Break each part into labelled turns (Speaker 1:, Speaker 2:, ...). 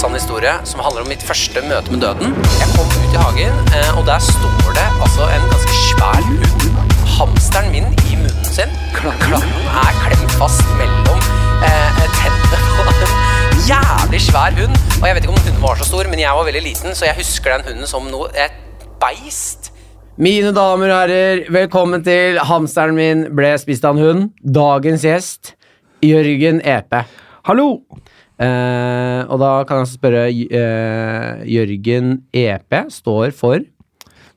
Speaker 1: sann historie som handler om mitt første møte med døden. Jeg kom ut i hagen, eh, og der står det altså en ganske svær hund. Hamsteren min i munnen sin. Klammen er klemt fast mellom eh, tennene på en jævlig svær hund. Og jeg vet ikke om hunden var så stor, men jeg var veldig liten, så jeg husker den hunden som noe et beist.
Speaker 2: Mine damer og herrer, velkommen til Hamsteren min ble spist av en hund. Dagens gjest, Jørgen Epe.
Speaker 3: Hallo!
Speaker 2: Eh, og da kan jeg altså spørre eh, Jørgen Epe står for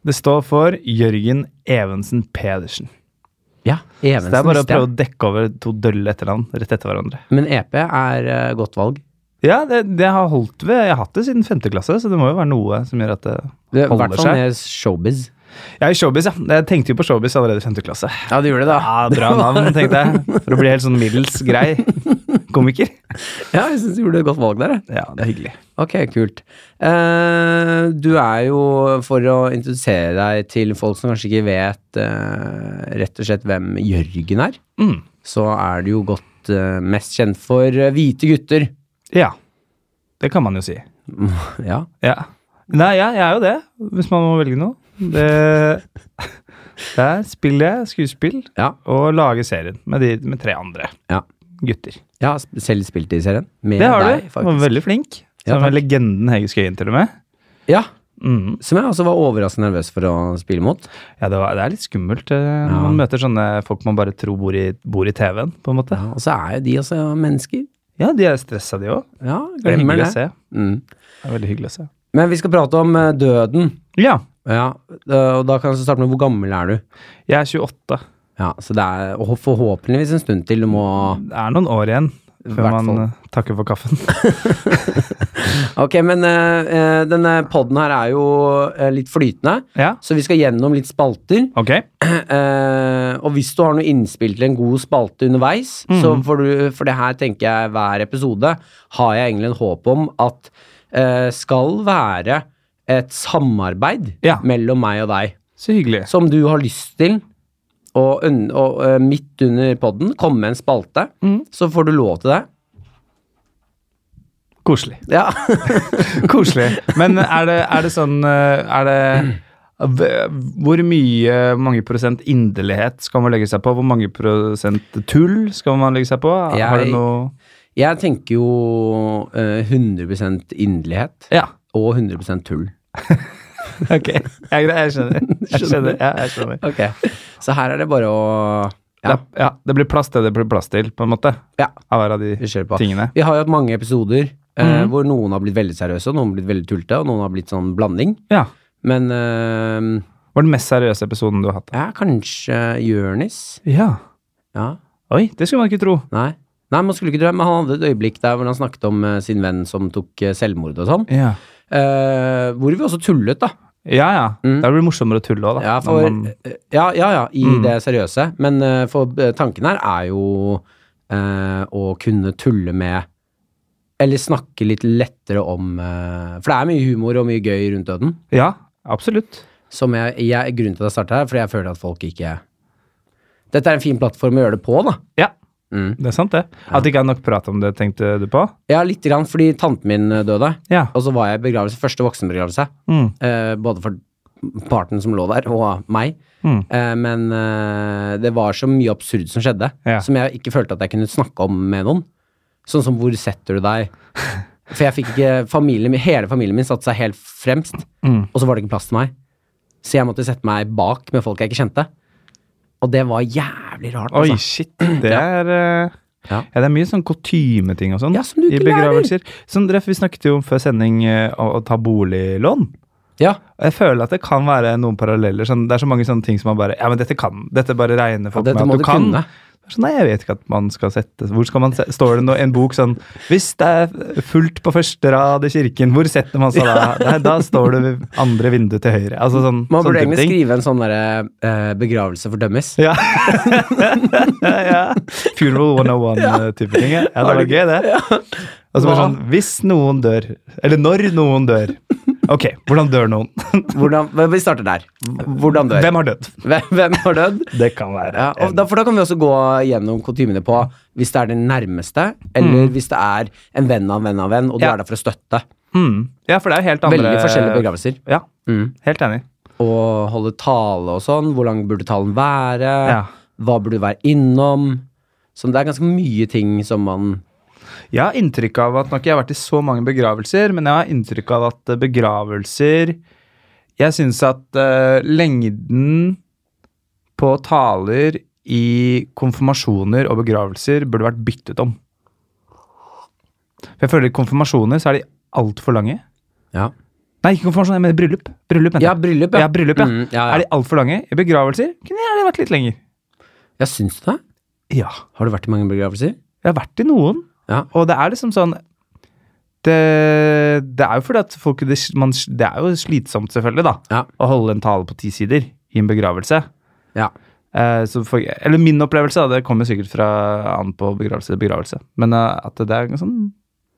Speaker 3: Det står for Jørgen Evensen Pedersen.
Speaker 2: Ja,
Speaker 3: Så
Speaker 2: Evensen.
Speaker 3: det er bare å
Speaker 2: visste jeg.
Speaker 3: prøve å dekke over to dølle etternavn rett etter hverandre.
Speaker 2: Men Epe er eh, godt valg.
Speaker 3: Ja, det, det har holdt ved. Jeg har hatt det siden femte klasse, så det må jo være noe som gjør at det
Speaker 2: Det, I hvert
Speaker 3: holder
Speaker 2: fall
Speaker 3: seg.
Speaker 2: med showbiz.
Speaker 3: Jeg er i showbiz, ja. Jeg tenkte jo på showbiz allerede i femte klasse.
Speaker 2: Ja, du gjorde det, da.
Speaker 3: Ja, Bra navn, tenkte jeg. For å bli helt sånn middels grei komiker.
Speaker 2: Ja, jeg syns du gjorde et godt valg der. jeg.
Speaker 3: Ja, det er hyggelig.
Speaker 2: Ok, kult. Eh, du er jo, for å introdusere deg til folk som kanskje ikke vet eh, rett og slett hvem Jørgen er,
Speaker 3: Mm.
Speaker 2: så er du jo godt eh, mest kjent for eh, hvite gutter.
Speaker 3: Ja. Det kan man jo si.
Speaker 2: ja.
Speaker 3: Ja. Nei, ja, jeg er jo det, hvis man må velge noe. Det, der spiller jeg skuespill
Speaker 2: Ja.
Speaker 3: og lager serien med, de, med tre andre
Speaker 2: Ja.
Speaker 3: gutter.
Speaker 2: Jeg har sp- selv spilt i serien. Med
Speaker 3: Det har
Speaker 2: deg,
Speaker 3: du. Du var veldig flink.
Speaker 2: Ja, takk.
Speaker 3: Som er legenden Hege Skøyen, til og med.
Speaker 2: Ja,
Speaker 3: Mm.
Speaker 2: som jeg også var overraskende nervøs for å spille mot.
Speaker 3: Ja, det, var, det er litt skummelt eh, når man møter sånne folk man bare tror bor i, bor i TV-en, på en måte.
Speaker 2: Ja, og så er jo de også mennesker.
Speaker 3: Ja, de er stressa, de òg.
Speaker 2: Ja,
Speaker 3: Det er
Speaker 2: glemmer
Speaker 3: hyggelig
Speaker 2: det.
Speaker 3: å se.
Speaker 2: Mm.
Speaker 3: Det er veldig hyggelig å se.
Speaker 2: Men vi skal prate om eh, døden.
Speaker 3: Ja,
Speaker 2: Ja, eh, og da kan jeg også starte med hvor gammel er du?
Speaker 3: jeg er 28.
Speaker 2: Ja, så det er og forhåpentligvis en stund til du må
Speaker 3: Det er noen år igjen før
Speaker 2: Hvert
Speaker 3: man
Speaker 2: fall.
Speaker 3: eh, takker for kaffen.
Speaker 2: Ok, men eh, eh, denne podden her er jo eh, litt flytende,
Speaker 3: ja,
Speaker 2: så vi skal gjennom litt spalter.
Speaker 3: ok.
Speaker 2: Eh, og hvis du har noe innspill til en god spalte underveis, så
Speaker 3: Mhm.
Speaker 2: får du For det her tenker jeg hver episode har jeg egentlig en håp om at eh, skal være et samarbeid
Speaker 3: Ja.
Speaker 2: mellom meg og deg.
Speaker 3: Så hyggelig.
Speaker 2: Som du har lyst til å un- å, eh, midt under podden komme med en spalte,
Speaker 3: Mhm.
Speaker 2: så får du lov til det.
Speaker 3: Koselig.
Speaker 2: Ja.
Speaker 3: Koselig. Men er det, er det sånn eh, Er det v- Hvor mye mange prosent inderlighet skal man legge seg på? Hvor mange prosent tull skal man legge seg på? Har
Speaker 2: Jeg-
Speaker 3: du noe
Speaker 2: Jeg tenker jo eh, 100 inderlighet
Speaker 3: Ja.
Speaker 2: og 100 tull.
Speaker 3: Ok. Jeg, er grei, jeg skjønner. Jeg skjønner. Ja, jeg skjønner.
Speaker 2: Ok. Så her er det bare å
Speaker 3: Ja.
Speaker 2: Ja,
Speaker 3: Det, ja, det blir plass til det det blir plass til, på en måte.
Speaker 2: Ja.
Speaker 3: Av hver av de
Speaker 2: vi kjører på.
Speaker 3: tingene.
Speaker 2: Vi har jo hatt mange episoder eh, hvor noen har blitt veldig seriøse, og noen har blitt veldig tullete, og noen har blitt sånn blanding.
Speaker 3: Ja.
Speaker 2: Men eh,
Speaker 3: Hva er den mest seriøse episoden du har hatt? da?
Speaker 2: ja, kanskje Jørnis?
Speaker 3: Ja.
Speaker 2: Ja.
Speaker 3: Oi, det skulle man ikke tro.
Speaker 2: Nei. Nei, man skulle ikke tro det, men han hadde et øyeblikk der hvor han snakket om eh, sin venn som tok eh, selvmord og sånn.
Speaker 3: Ja.
Speaker 2: Eh, hvor vi også tullet, da.
Speaker 3: Ja, ja.
Speaker 2: Mm.
Speaker 3: Da blir det morsommere å tulle òg, da.
Speaker 2: Ja,
Speaker 3: Når
Speaker 2: for,
Speaker 3: man,
Speaker 2: ja, ja, ja, i
Speaker 3: Mm.
Speaker 2: det seriøse. Men eh, for eh, tanken her er jo eh, å kunne tulle med Eller snakke litt lettere om eh, For det er mye humor og mye gøy rundt døden.
Speaker 3: ja absolutt.
Speaker 2: Som jeg, jeg, grunnen til at jeg starta her, fordi jeg føler at folk ikke Dette er en fin plattform å gjøre det på, da.
Speaker 3: Ja.
Speaker 2: Mm.
Speaker 3: Det er sant, det. At det ikke er nok prat om det, tenkte du på?
Speaker 2: Ja, lite grann, fordi tanten min eh, døde.
Speaker 3: Ja.
Speaker 2: Og så var jeg i begravelse, første voksenbegravelse.
Speaker 3: Mm.
Speaker 2: eh, både for parten som lå der, og meg.
Speaker 3: Mm.
Speaker 2: Eh, men eh, det var så mye absurd som skjedde,
Speaker 3: Ja.
Speaker 2: som jeg ikke følte at jeg kunne snakke om med noen. Sånn som 'hvor setter du deg'? For jeg fikk ikke familien min, Hele familien min satte seg helt fremst,
Speaker 3: Mm.
Speaker 2: og så var det ikke plass til meg. Så jeg måtte sette meg bak med folk jeg ikke kjente. Og det var jævlig rart,
Speaker 3: Oi,
Speaker 2: altså.
Speaker 3: shit. Det er eh,
Speaker 2: Ja.
Speaker 3: ja. det er mye sånn kutymeting og sånn
Speaker 2: Ja, som du
Speaker 3: i
Speaker 2: ikke
Speaker 3: begravelser. Sånn, Ref, vi snakket jo om før sending eh, å, å ta boliglån.
Speaker 2: Ja,
Speaker 3: Og Jeg føler at det kan være noen paralleller. Sånn, det er så mange sånne ting som man bare Ja, men dette kan Dette bare regner
Speaker 2: ja
Speaker 3: folk
Speaker 2: dette
Speaker 3: med
Speaker 2: må
Speaker 3: at
Speaker 2: du
Speaker 3: du kan.
Speaker 2: kunne.
Speaker 3: Sånn, nei, jeg vet ikke at man skal sette Hvor skal man se, Står det noe, en bok sånn Hvis det er fullt på første rad i kirken, hvor setter man seg da? Nei, da står det ved andre vindu til høyre. Altså sånn
Speaker 2: Man burde
Speaker 3: sånn type
Speaker 2: egentlig
Speaker 3: ting.
Speaker 2: skrive en sånn derre eh, begravelse fordømmes.
Speaker 3: Ja. ja. Funeral 101-type eh, ting. Ja, Ja, det var gøy, det. Og så bare sånn Hvis noen dør, eller når noen dør, Ok, hvordan dør noen?
Speaker 2: Hvordan, vi starter der. Hvordan dør?
Speaker 3: Hvem har dødd?
Speaker 2: Hvem, hvem har dødd?
Speaker 3: Det kan være
Speaker 2: Ja, og da, for da kan vi også gå gjennom kutymene på hvis det er den nærmeste, eller hvis det er en venn av en venn av en, og du
Speaker 3: Mm. Ja.
Speaker 2: er der for å støtte.
Speaker 3: mm. ja for det er helt andre
Speaker 2: Veldig forskjellige begravelser.
Speaker 3: Ja,
Speaker 2: Mm.
Speaker 3: helt enig.
Speaker 2: Og holde tale og sånn. Hvor lang burde talen være?
Speaker 3: Ja.
Speaker 2: Hva burde du være innom? Så det er ganske mye ting som man
Speaker 3: Jeg har inntrykk av at Nå har ikke jeg vært i så mange begravelser, men jeg har inntrykk av at eh, begravelser Jeg syns at eh, lengden på taler i konfirmasjoner og begravelser burde vært byttet om. For jeg føler i konfirmasjoner så er de altfor lange.
Speaker 2: Ja,
Speaker 3: Nei, ikke konfirmasjon, jeg mener bryllup. Bryllup, mener
Speaker 2: ja
Speaker 3: jeg.
Speaker 2: bryllup,
Speaker 3: Ja, bryllup, ja.
Speaker 2: Mm, ja,
Speaker 3: Er
Speaker 2: ja.
Speaker 3: de altfor lange? I begravelser kunne de vært litt lenger.
Speaker 2: ja, syns du det?
Speaker 3: Ja.
Speaker 2: Har du vært i mange begravelser?
Speaker 3: Jeg har vært i noen,
Speaker 2: Ja.
Speaker 3: og det er liksom sånn det, det er jo fordi at folk det, man, det er jo slitsomt, selvfølgelig, da.
Speaker 2: Ja.
Speaker 3: Å holde en tale på ti sider i en begravelse.
Speaker 2: Ja.
Speaker 3: Eh, så for, eller min opplevelse, da. Det kommer sikkert fra an på begravelse til begravelse. Men eh, at det er sånn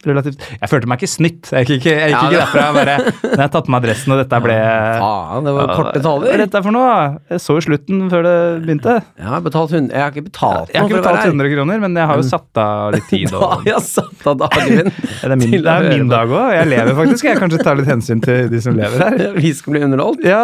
Speaker 3: relativt Jeg følte meg ikke snytt. Jeg gikk ikke, jeg gikk
Speaker 2: Ja,
Speaker 3: ikke
Speaker 2: det-
Speaker 3: derfra. Jeg bare Når jeg tatt på meg dressen, og dette ble eh,
Speaker 2: Faen, det var korte
Speaker 3: Hva er
Speaker 2: taler.
Speaker 3: dette for noe? Jeg så jo slutten før det begynte.
Speaker 2: Jeg har, betalt hund- jeg har ikke betalt
Speaker 3: Jeg har ikke
Speaker 2: noe for å være Mm.
Speaker 3: betalt
Speaker 2: her.
Speaker 3: 100 kroner, men jeg har jo satt av litt tid.
Speaker 2: Da har
Speaker 3: Og,
Speaker 2: jeg satt av dagen min.
Speaker 3: det er min,
Speaker 2: til å
Speaker 3: det er
Speaker 2: høre
Speaker 3: min
Speaker 2: på.
Speaker 3: dag òg. Jeg lever faktisk. Jeg kanskje tar litt hensyn til de som lever her.
Speaker 2: Vi skal bli underholdt?
Speaker 3: Ja,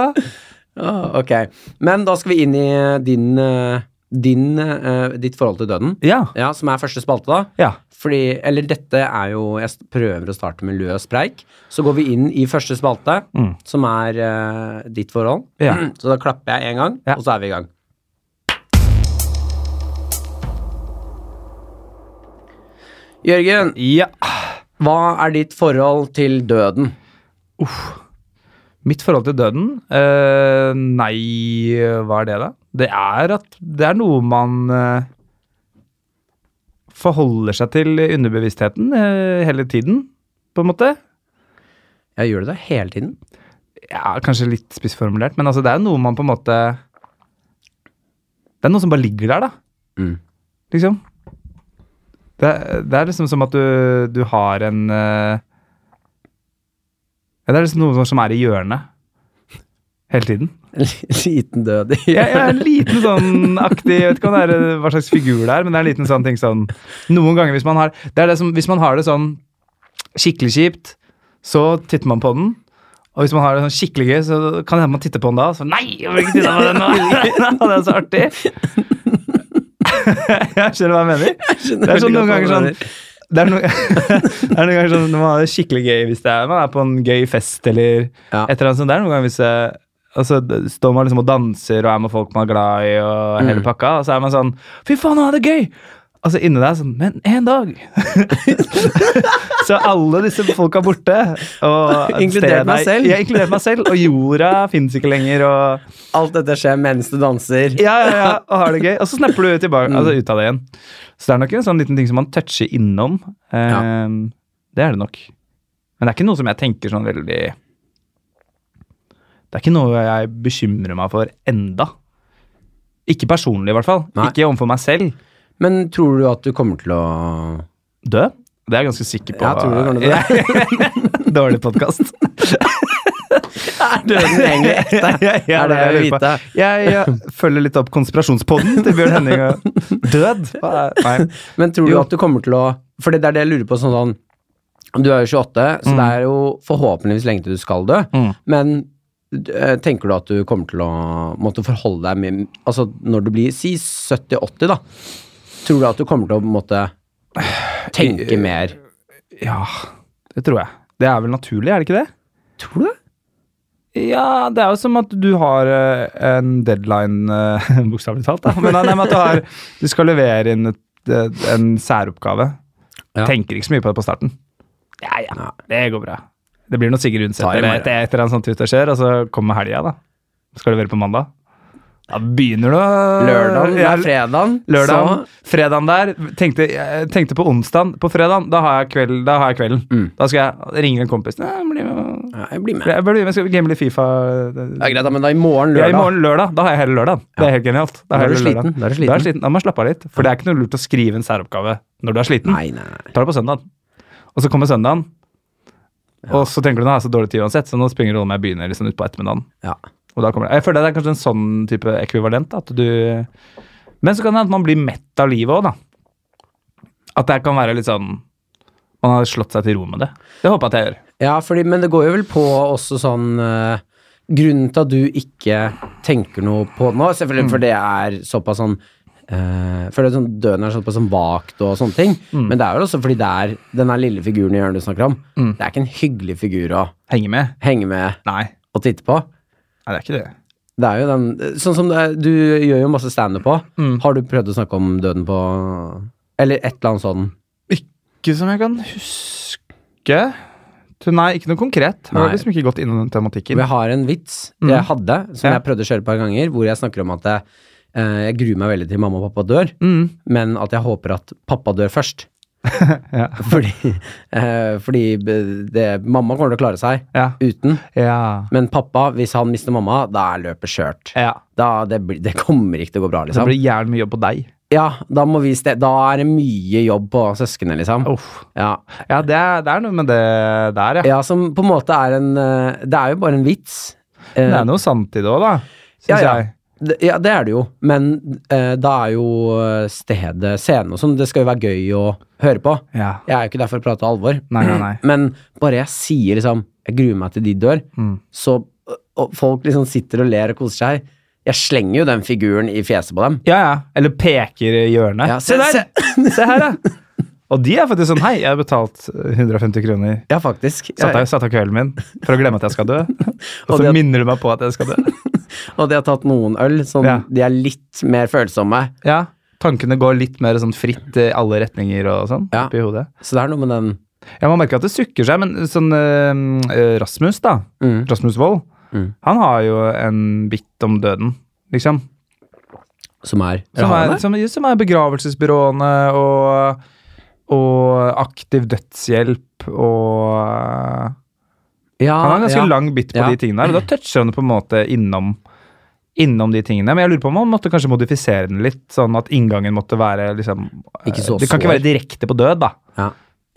Speaker 2: Ah, ok. Men da skal vi inn i din, eh, din eh, ditt forhold til døden.
Speaker 3: ja,
Speaker 2: Ja, som er første spalte, da.
Speaker 3: ja.
Speaker 2: Fordi, eller dette er jo Jeg s- prøver å starte med løs preik. Så går vi inn i første spalte,
Speaker 3: Mm.
Speaker 2: som er eh, ditt forhold.
Speaker 3: Ja.
Speaker 2: Så da klapper jeg én gang,
Speaker 3: Ja.
Speaker 2: og så er vi i gang. Jørgen,
Speaker 3: ja.
Speaker 2: hva er ditt forhold til døden?
Speaker 3: Mitt forhold til døden? Eh, nei, hva er det, da? Det er at det er noe man eh, forholder seg til i underbevisstheten eh, hele tiden, på en måte.
Speaker 2: Jeg gjør det da hele tiden.
Speaker 3: ja, kanskje litt spissformulert, men altså, det er jo noe man på en måte Det er noe som bare ligger der, da.
Speaker 2: Mm.
Speaker 3: Liksom. Det, er- det er liksom som at du, du har en eh, ja, Det er liksom noe som er i hjørnet hele tiden.
Speaker 2: En liten død i
Speaker 3: Jeg, jeg er en liten sånn aktig Jeg vet ikke om det er, eh, hva slags figur det er, men det er en liten sånn ting sånn Noen ganger hvis man har Det er det som Hvis man har det sånn skikkelig kjipt, så titter man på den. Og hvis man har det sånn skikkelig gøy, så kan det hende man titter på den da. og Så nei, jeg vil ikke titte på den nå! Nei, det er så artig! Jeg skjønner hva jeg mener. Det er sånn noen ganger sånn det er, noen, det er noen ganger sånn når man har det skikkelig gøy hvis det er, man er på en gøy fest eller
Speaker 2: Ja.
Speaker 3: et eller annet sånt. Det er noen ganger hvis jeg, altså, d- står man liksom og danser og er med folk man er glad i og
Speaker 2: Mm.
Speaker 3: hele pakka, og så er man sånn Fy faen, nå er det gøy! Og så inni deg sånn Men én dag! så alle disse folka er borte. Og
Speaker 2: Inkludert
Speaker 3: stedet-
Speaker 2: meg selv.
Speaker 3: Ja, inkludert meg selv. Og jorda fins ikke lenger, og
Speaker 2: Alt dette skjer mens du danser.
Speaker 3: ja, ja, ja, og har det gøy. Og så snapper du tilbake,
Speaker 2: Mm.
Speaker 3: altså ut av det igjen. Så det er nok en sånn liten ting som man toucher innom. Eh,
Speaker 2: Ja.
Speaker 3: Det er det nok. Men det er ikke noe som jeg tenker sånn veldig Det er ikke noe jeg bekymrer meg for enda. Ikke personlig, i hvert fall.
Speaker 2: Nei.
Speaker 3: Ikke overfor meg selv.
Speaker 2: Men tror du at du kommer til å
Speaker 3: Dø. Det er jeg ganske sikker på.
Speaker 2: Ja, tror du kommer til å
Speaker 3: Dårlig podkast.
Speaker 2: Er døden egentlig ekte? Er det jeg vil vite?
Speaker 3: Jeg, jeg følger litt opp konspirasjonspodden til Bjørn Henning. og- Død? Hva er- Nei.
Speaker 2: Men tror du
Speaker 3: Jo.
Speaker 2: at du kommer til å For det er det jeg lurer på. Sånn, sånn Du er jo 28, så det er jo forhåpentligvis lenge til du skal dø.
Speaker 3: Mm.
Speaker 2: Men eh, tenker du at du kommer til å måtte forholde deg med Altså når du blir si 70-80, da. Tror du at du kommer til å måtte tenke mer?
Speaker 3: Ja, det tror jeg. Det er vel naturlig, er det ikke det?
Speaker 2: Tror du det?
Speaker 3: Ja, det er jo som at du har eh, en deadline, eh, bokstavelig talt, da. Men, nei, men at du, har, du skal levere inn et, et, en særoppgave.
Speaker 2: Ja.
Speaker 3: Tenker ikke så mye på det på starten. Ja, ja, det går bra. Det blir noe Sigurd Undset
Speaker 2: Ta i
Speaker 3: eller
Speaker 2: morgen.
Speaker 3: et et eller annet sånt ut og skjer, og så kommer helga, da. Skal levere på mandag. Da begynner du å
Speaker 2: Lørdagen
Speaker 3: Ja,
Speaker 2: er fredagen,
Speaker 3: Lørdag, fredagen der tenkte, jeg tenkte på onsdagen. På fredagen, da har jeg, kveld, da har jeg kvelden.
Speaker 2: Mm.
Speaker 3: Da skal jeg ringe en kompis. Nei, bli med.
Speaker 2: så ja, Jeg blir med.
Speaker 3: Jeg bør bli med, skal vi game litt Fifa?
Speaker 2: Ja, greit, da, men da i morgen
Speaker 3: Ja,
Speaker 2: lørdag.
Speaker 3: i morgen lørdag. Da har jeg hele lørdagen. Det er helt genialt. Da,
Speaker 2: Da er
Speaker 3: har
Speaker 2: du
Speaker 3: jeg hele lørdagen.
Speaker 2: sliten, da er du
Speaker 3: Da,
Speaker 2: sliten.
Speaker 3: må jeg slappe av litt. For det er ikke noe lurt å skrive en særoppgave når du er sliten.
Speaker 2: Nei, nei, nei.
Speaker 3: Ta det på søndag. Og så kommer søndagen. Og så tenker du nå har jeg så dårlig tid uansett, så nå springer det om jeg begynner liksom utpå ettermiddagen.
Speaker 2: Ja.
Speaker 3: Og da kommer det. Jeg føler det er kanskje en sånn type ekvivalent. da, At du Men så kan det hende at man blir mett av livet òg, da. At det kan være litt sånn Man har slått seg til ro med det. Det håper jeg at jeg gjør.
Speaker 2: Ja, fordi, men det går jo vel på også sånn eh, Grunnen til at du ikke tenker noe på det nå, selvfølgelig for det er såpass sånn eh, for det er sånn, Døden er såpass sånn vagt og sånne ting, men det er jo også fordi det er den der lille figuren i hjørnet du snakker om.
Speaker 3: Mm.
Speaker 2: Det er ikke en hyggelig figur å
Speaker 3: Henge med?
Speaker 2: henge med
Speaker 3: Nei.
Speaker 2: og titte på.
Speaker 3: Nei, det er ikke det.
Speaker 2: Det er jo den Sånn som det er, du gjør jo masse standup på.
Speaker 3: Mm.
Speaker 2: Har du prøvd å snakke om døden på Eller et eller annet sånn
Speaker 3: Ikke som jeg kan huske. Du, Nei, ikke noe konkret. Jeg har
Speaker 2: Nei.
Speaker 3: liksom ikke gått innom den tematikken.
Speaker 2: Jeg har en vits jeg hadde, som
Speaker 3: Mm. Ja.
Speaker 2: jeg prøvde å kjøre et par ganger, hvor jeg snakker om at jeg, eh, jeg gruer meg veldig til mamma og pappa dør,
Speaker 3: Mm.
Speaker 2: men at jeg håper at pappa dør først.
Speaker 3: Ja.
Speaker 2: Fordi, eh, fordi det, mamma kommer til å klare seg
Speaker 3: Ja.
Speaker 2: uten,
Speaker 3: Ja.
Speaker 2: men pappa, hvis han mister mamma, da er løpet skjørt.
Speaker 3: ja.
Speaker 2: Da, det, blir- det kommer ikke til å gå bra,
Speaker 3: Så
Speaker 2: liksom.
Speaker 3: blir det jævlig mye jobb på deg.
Speaker 2: Ja, da, må vi ste da er det mye jobb på søsknene, liksom.
Speaker 3: Uff.
Speaker 2: Ja.
Speaker 3: Ja, det er, det er noe med det der, ja.
Speaker 2: ja, som på en måte er en eh, Det er jo bare en vits. Eh,
Speaker 3: Det er noe sant i det òg, da.
Speaker 2: Ja,
Speaker 3: Syns
Speaker 2: ja.
Speaker 3: jeg.
Speaker 2: Det- Ja, det er det jo, men eh, da er jo eh, stedet scenen og sånn. Det skal jo være gøy å høre på.
Speaker 3: Ja.
Speaker 2: Jeg er jo ikke der for å prate alvor,
Speaker 3: Nei, nei, nei.
Speaker 2: men bare jeg sier liksom Jeg gruer meg til de dør,
Speaker 3: Mm.
Speaker 2: så og folk liksom sitter og ler og koser seg. Jeg slenger jo den figuren i fjeset på dem.
Speaker 3: Ja, ja. Eller peker i hjørnet.
Speaker 2: Ja,
Speaker 3: se,
Speaker 2: se-
Speaker 3: der! Se her, ja. Og de er faktisk sånn Hei, jeg har betalt eh, 150 kroner.
Speaker 2: Ja, faktisk.
Speaker 3: Satt
Speaker 2: Ja,
Speaker 3: av, satt av kvelden min for å glemme at jeg skal dø. Og
Speaker 2: Og
Speaker 3: så
Speaker 2: det-
Speaker 3: minner du meg på at jeg skal dø.
Speaker 2: og de har tatt noen øl, sånn
Speaker 3: Ja.
Speaker 2: de er litt mer følsomme.
Speaker 3: Ja. Tankene går litt mer sånn fritt i alle retninger og sånn.
Speaker 2: Ja.
Speaker 3: oppi hodet.
Speaker 2: Så det er noe med den
Speaker 3: Ja, Man merker at det sukker seg, men sånn eh, eh, Rasmus, da.
Speaker 2: Mm.
Speaker 3: Rasmus Wold.
Speaker 2: Mm.
Speaker 3: Han har jo en bit om døden, liksom.
Speaker 2: som er
Speaker 3: Som
Speaker 2: Ja,
Speaker 3: er,
Speaker 2: det
Speaker 3: som, som er begravelsesbyråene og, og aktiv dødshjelp og eh,
Speaker 2: Ja,
Speaker 3: Han har en ganske
Speaker 2: ja.
Speaker 3: lang bit på
Speaker 2: Ja.
Speaker 3: de tingene der, og da toucher han det på en måte innom Innom de tingene, Men jeg lurer på om han måtte kanskje modifisere den litt, sånn at inngangen måtte være liksom eh,
Speaker 2: Ikke så
Speaker 3: Det kan ikke
Speaker 2: sår.
Speaker 3: være direkte på død, da.
Speaker 2: Ja.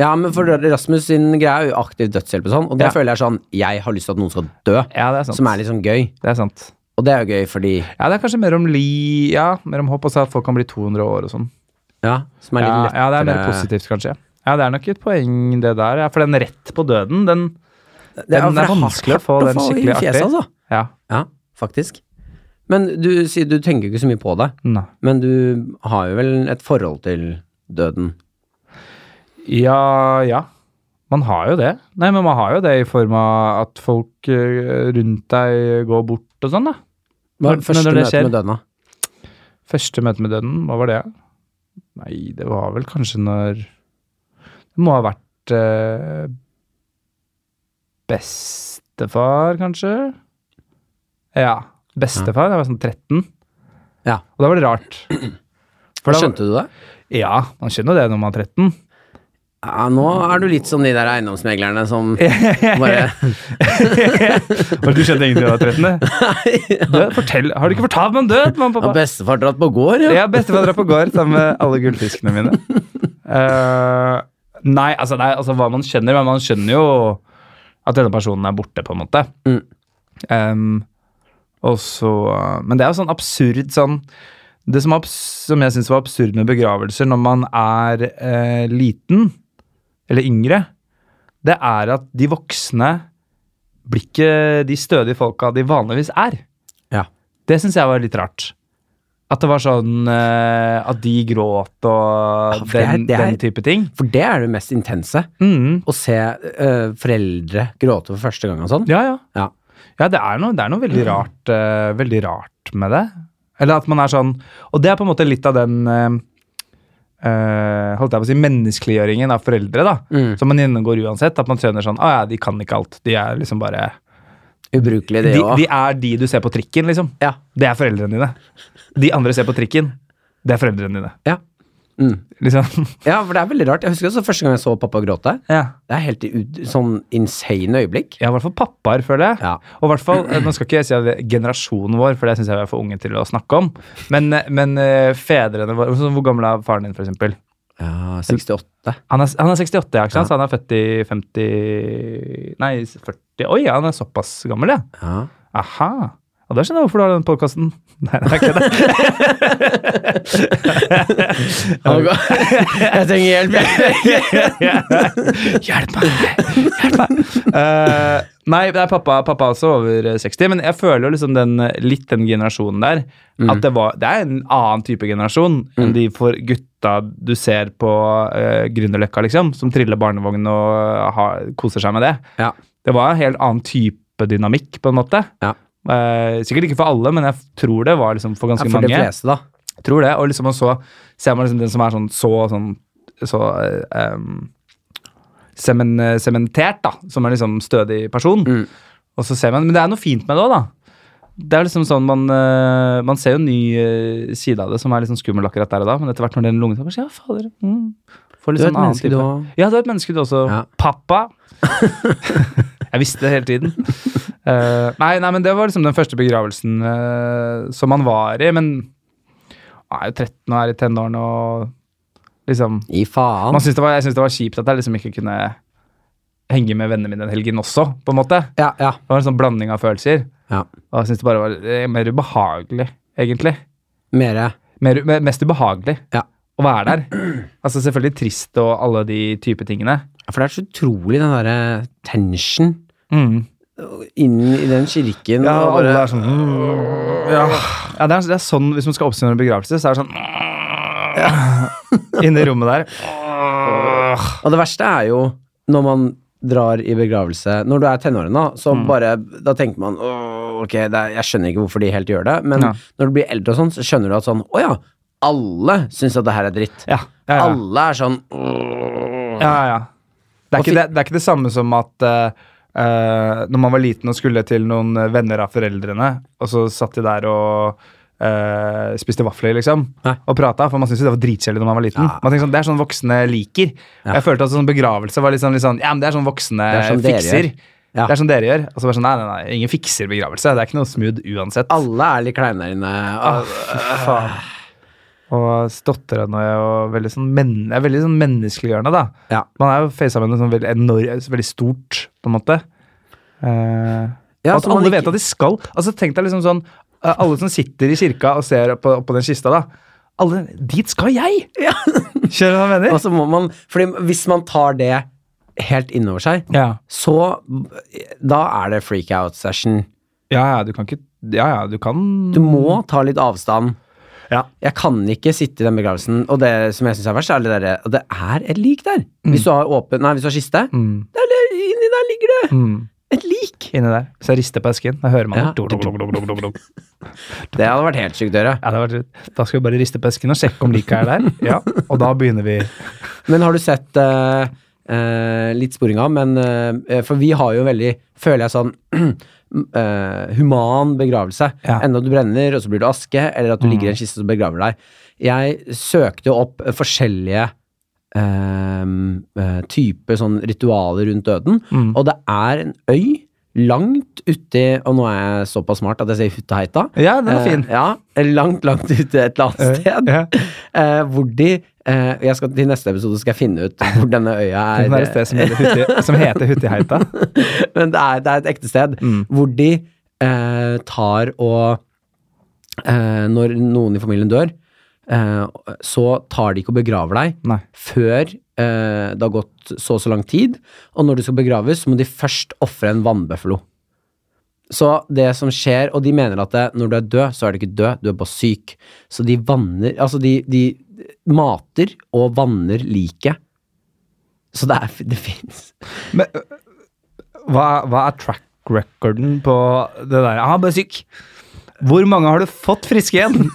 Speaker 2: ja, men for Rasmus sin greie er jo aktiv dødshjelp og sånn, og det
Speaker 3: Ja.
Speaker 2: føler jeg er sånn Jeg har lyst til at noen skal dø,
Speaker 3: Ja, det er sant.
Speaker 2: som er liksom gøy.
Speaker 3: Det er sant.
Speaker 2: Og det er jo gøy fordi
Speaker 3: Ja, det er kanskje mer om li... Ja, mer om håp, og så at folk kan bli 200 år og sånn.
Speaker 2: Ja, som er litt
Speaker 3: Ja,
Speaker 2: lettere
Speaker 3: ja, det er mer positivt, kanskje. Ja, det er nok et poeng, det der. Ja, for den rett på døden, den
Speaker 2: Det
Speaker 3: Den
Speaker 2: for
Speaker 3: er
Speaker 2: hardt
Speaker 3: vanskelig å få den
Speaker 2: i
Speaker 3: skikkelig
Speaker 2: fjeset,
Speaker 3: artig.
Speaker 2: altså.
Speaker 3: Ja.
Speaker 2: Ja, faktisk. Men du sier du tenker ikke så mye på det,
Speaker 3: Nei.
Speaker 2: men du har jo vel et forhold til døden?
Speaker 3: Ja, ja. Man har jo det. Nei, men man har jo det i form av at folk eh, rundt deg går bort og sånn, da.
Speaker 2: Hva
Speaker 3: Men-
Speaker 2: er første
Speaker 3: men når det
Speaker 2: møte
Speaker 3: skjer-
Speaker 2: med døden, da?
Speaker 3: Første møte med døden, hva var det? Nei, det var vel kanskje når Det må ha vært eh, bestefar, kanskje? Ja. Bestefar, jeg var sånn 13.
Speaker 2: Ja.
Speaker 3: Og da var det rart. For da-
Speaker 2: Skjønte du det?
Speaker 3: Ja, man skjønner jo det når man er 13.
Speaker 2: Ja, nå er du litt som de der eiendomsmeglerne som bare
Speaker 3: Men du skjønte ingenting da du var 13? det? Død, fortell. Har du ikke fortalt meg om død, mamma og
Speaker 2: Har
Speaker 3: pappa?
Speaker 2: bestefar dratt på gård, ja?
Speaker 3: Ja, bestefar drar på gård sammen med alle gullfiskene mine. Eh, nei, altså, nei, altså hva man skjønner, men man skjønner jo at denne personen er borte, på en måte.
Speaker 2: Mm.
Speaker 3: Em, og så Men det er jo sånn absurd sånn Det som, abs som jeg syns var absurd med begravelser når man er eh, liten, eller yngre, det er at de voksne blir ikke de stødige folka de vanligvis er.
Speaker 2: Ja.
Speaker 3: Det syns jeg var litt rart. At det var sånn eh, At de gråt og
Speaker 2: for det er-
Speaker 3: den,
Speaker 2: det er-
Speaker 3: den type ting.
Speaker 2: For det er det mest intense.
Speaker 3: Mm.
Speaker 2: Å se eh, foreldre gråte for første gang og sånn.
Speaker 3: Ja, ja.
Speaker 2: Ja.
Speaker 3: Ja, det er noe, det er noe veldig, rart, eh, veldig rart med det. Eller at man er sånn Og det er på en måte litt av den eh, eh, holdt jeg på å si, menneskeliggjøringen av foreldre, da.
Speaker 2: Mm.
Speaker 3: Som man gjennomgår uansett. At man skjønner sånn Å ja, de kan ikke alt. De er liksom bare
Speaker 2: Ubrukelig,
Speaker 3: de,
Speaker 2: det òg.
Speaker 3: de er de du ser på trikken, liksom.
Speaker 2: Ja.
Speaker 3: Det er foreldrene dine. De andre ser på trikken. Det er foreldrene dine.
Speaker 2: Ja. Mm.
Speaker 3: Liksom.
Speaker 2: ja, for det er veldig rart. Jeg husker også første gang jeg så pappa gråte.
Speaker 3: Ja.
Speaker 2: Det er helt u sånn insane øyeblikk.
Speaker 3: Ja, i hvert fall pappaer, føler jeg.
Speaker 2: Ja.
Speaker 3: Og i hvert fall, eh, Nå skal ikke jeg si at generasjonen vår, for det syns jeg vi er for unge til å snakke om. Men, eh, men eh, fedrene våre så Hvor gammel er faren din, f.eks.?
Speaker 2: Ja, 68.
Speaker 3: Han er, han er 68, ja, ikke sant? Så han er født i 50 Nei, 40 Oi, han er såpass gammel, ja.
Speaker 2: Ja.
Speaker 3: Aha. Og da skjønner jeg hvorfor du har den podkasten. Nei, det er ikke det.
Speaker 2: Jeg trenger hjelp. jeg.
Speaker 3: Hjelp meg! Hjelp meg! Eh, nei, det er pappa, pappa er også over 60, men jeg føler jo liksom den, litt den generasjonen der.
Speaker 2: Mm.
Speaker 3: At det, var, det er en annen type generasjon enn de for gutta du ser på uh, Grünerløkka, liksom. Som triller barnevogn og eh, har, koser seg med det.
Speaker 2: Ja.
Speaker 3: Det var en helt annen type dynamikk, på en måte.
Speaker 2: Ja.
Speaker 3: Eh, sikkert ikke for alle, men jeg tror det var liksom for
Speaker 2: Ja,
Speaker 3: ganske
Speaker 2: For de
Speaker 3: mange.
Speaker 2: fleste, da.
Speaker 3: Jeg tror det. Og liksom, og så ser man liksom den som er sånn så sånn så eh, em, semen, eh, sementert, da. Som er liksom stødig person.
Speaker 2: Mm.
Speaker 3: Og så ser man, Men det er noe fint med det òg, da. Det er liksom sånn man, eh, man ser jo en ny eh, side av det som er litt sånn skummel akkurat der og da, men etter hvert når den lungen tar bare, Ja, fader. Mm. Får
Speaker 2: Du
Speaker 3: litt
Speaker 2: er
Speaker 3: sånn
Speaker 2: et
Speaker 3: annen
Speaker 2: menneske, du
Speaker 3: type.
Speaker 2: òg.
Speaker 3: Ja, du er et menneske, du også.
Speaker 2: Ja.
Speaker 3: Pappa. jeg visste det hele tiden. Eh, nei, nei, men det var liksom den første begravelsen eh, som han var i. Men han er jo 13 og er i tenårene og liksom
Speaker 2: Gi faen.
Speaker 3: man synes det var, Jeg syns det var kjipt at jeg liksom ikke kunne henge med vennene mine den helgen også, på en måte.
Speaker 2: Ja, ja.
Speaker 3: Det var en sånn blanding av følelser.
Speaker 2: ja.
Speaker 3: Og jeg syns det bare var eh, mer ubehagelig, egentlig.
Speaker 2: Mere.
Speaker 3: Mer, me- mest ubehagelig
Speaker 2: Ja.
Speaker 3: å være der. Altså selvfølgelig trist og alle de type tingene.
Speaker 2: For det er så utrolig den derre tension
Speaker 3: Mm.
Speaker 2: inn i den kirken.
Speaker 3: Ja,
Speaker 2: og
Speaker 3: alle
Speaker 2: bare-
Speaker 3: er sånn ja. ja, det er, det er sånn Hvis man skal oppsummere en begravelse, så er det sånn Inne i rommet der.
Speaker 2: Og det verste er jo når man drar i begravelse Når du er tenåring, da, så
Speaker 3: Mm.
Speaker 2: bare Da tenker man «Åh, ok, det er, jeg skjønner ikke hvorfor de helt gjør det, men
Speaker 3: Ja.
Speaker 2: når du blir eldre og sånn, så skjønner du at sånn Å ja, alle syns at det her er dritt.
Speaker 3: Ja, ja, ja.
Speaker 2: Alle er sånn
Speaker 3: ja, ja. Det, er ikke, det, det er ikke det samme som at eh, eh, når man var liten og skulle til noen venner av foreldrene, og så satt de der og eh, spiste vafler, liksom,
Speaker 2: Nei.
Speaker 3: og prata. For man syntes jo det var dritkjedelig når man var liten. Man tenkte sånn, Det er sånn voksne liker. Og Jeg følte at sånn begravelse var litt sånn, litt sånn Ja, men det er sånn voksne
Speaker 2: Det er sånn dere
Speaker 3: fikser.
Speaker 2: gjør. Ja.
Speaker 3: Det er sånn dere gjør. Og så bare sånn, nei, nei, nei, ingen fikser begravelse. Det er ikke noe smooth uansett. Ah,
Speaker 2: Alle Ah. er litt øh, kleine der inne. Og,
Speaker 3: Faen. Og stotrende og veldig sånn, men, er veldig sånn menneskeliggjørende, da.
Speaker 2: ja.
Speaker 3: Man er jo facet med noe sånn veldig, enormt, veldig stort, på en måte. Eh,
Speaker 2: Ja,
Speaker 3: at
Speaker 2: så man
Speaker 3: alle
Speaker 2: ikke-
Speaker 3: vet at de skal. Altså, tenk deg liksom sånn eh, Alle som sitter i kirka og ser opp på, opp på den kista, da. Alle, dit skal jeg!
Speaker 2: Ja.
Speaker 3: Skjønner du hva
Speaker 2: og
Speaker 3: jeg mener?
Speaker 2: så må man Fordi hvis man tar det helt innover seg,
Speaker 3: Ja.
Speaker 2: så Da er det freak out session.
Speaker 3: ja, ja, du kan ikke Ja, ja, du kan
Speaker 2: Du må ta litt avstand.
Speaker 3: Ja.
Speaker 2: Jeg kan ikke sitte i den begravelsen. Og det som jeg syns er verst, er det derre Og det er et lik der! Hvis du har åpen Nei, hvis du har kiste,
Speaker 3: Mm,
Speaker 2: der, der, inni der ligger det
Speaker 3: mm.
Speaker 2: et lik!
Speaker 3: Inni der. Så jeg rister på esken. Da hører man
Speaker 2: Ja.
Speaker 3: det. Dog, dog, dog, dog, dog, dog.
Speaker 2: Det hadde vært helt sykt å gjøre.
Speaker 3: Ja, det var, da skal vi bare riste på esken og sjekke om liket er der. Ja, og da begynner vi.
Speaker 2: Men har du sett eh, eh, Litt sporing av, men eh, For vi har jo veldig, føler jeg sånn eh, human begravelse.
Speaker 3: Ja.
Speaker 2: Enda du brenner, og så blir du aske, eller at du ligger i en kiste og så begraver deg. Jeg søkte jo opp eh, forskjellige eh, eh, typer sånn ritualer rundt døden, og det er en øy langt uti Og nå er jeg såpass smart at jeg sier Hutteheita.
Speaker 3: Ja, den var
Speaker 2: Eh,
Speaker 3: fin.
Speaker 2: ja, langt, langt ute et eller annet sted.
Speaker 3: Ja.
Speaker 2: Eh, hvor de eh, jeg skal, Til neste episode skal jeg finne ut hvor denne øya
Speaker 3: Den
Speaker 2: er.
Speaker 3: Sånn er et sted som heter, Hutti, som heter Huttiheita.
Speaker 2: Men det er, det er et ekte sted.
Speaker 3: Mm.
Speaker 2: Hvor de eh, tar og eh, Når noen i familien dør, eh, så tar de ikke og begraver deg
Speaker 3: Nei.
Speaker 2: før eh, det har gått så og så lang tid. Og når du skal begraves, så må de først ofre en vannbøffelo. Så det som skjer, og de mener at det, når du er død, så er du ikke død, du er bare syk. Så de vanner Altså, de, de mater og vanner liket. Så det, er, det fins.
Speaker 3: Men øh, hva, hva er track recorden på det der? Ah, bare syk. Hvor mange har du fått friske igjen?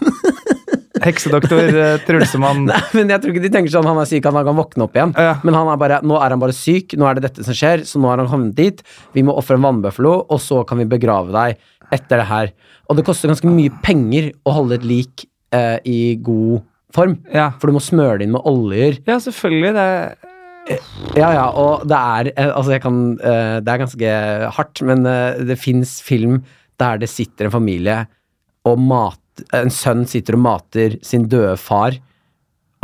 Speaker 3: Heksedoktor eh, Trulsemann.
Speaker 2: Nei, men jeg tror ikke de tenker sånn han er syk, han kan våkne opp igjen.
Speaker 3: Ja.
Speaker 2: Men han er bare, nå er han bare syk, nå er det dette som skjer, så nå har han havnet dit. Vi må ofre en vannbøffelo, og så kan vi begrave deg etter det her. Og det koster ganske mye penger å holde et lik eh, i god form.
Speaker 3: Ja.
Speaker 2: For du må smøre det inn med oljer.
Speaker 3: ja, selvfølgelig. Det er
Speaker 2: Ja, ja, og det er eh, Altså, jeg kan eh, Det er ganske hardt, men eh, det fins film der det sitter en familie og mat En sønn sitter og mater sin døde far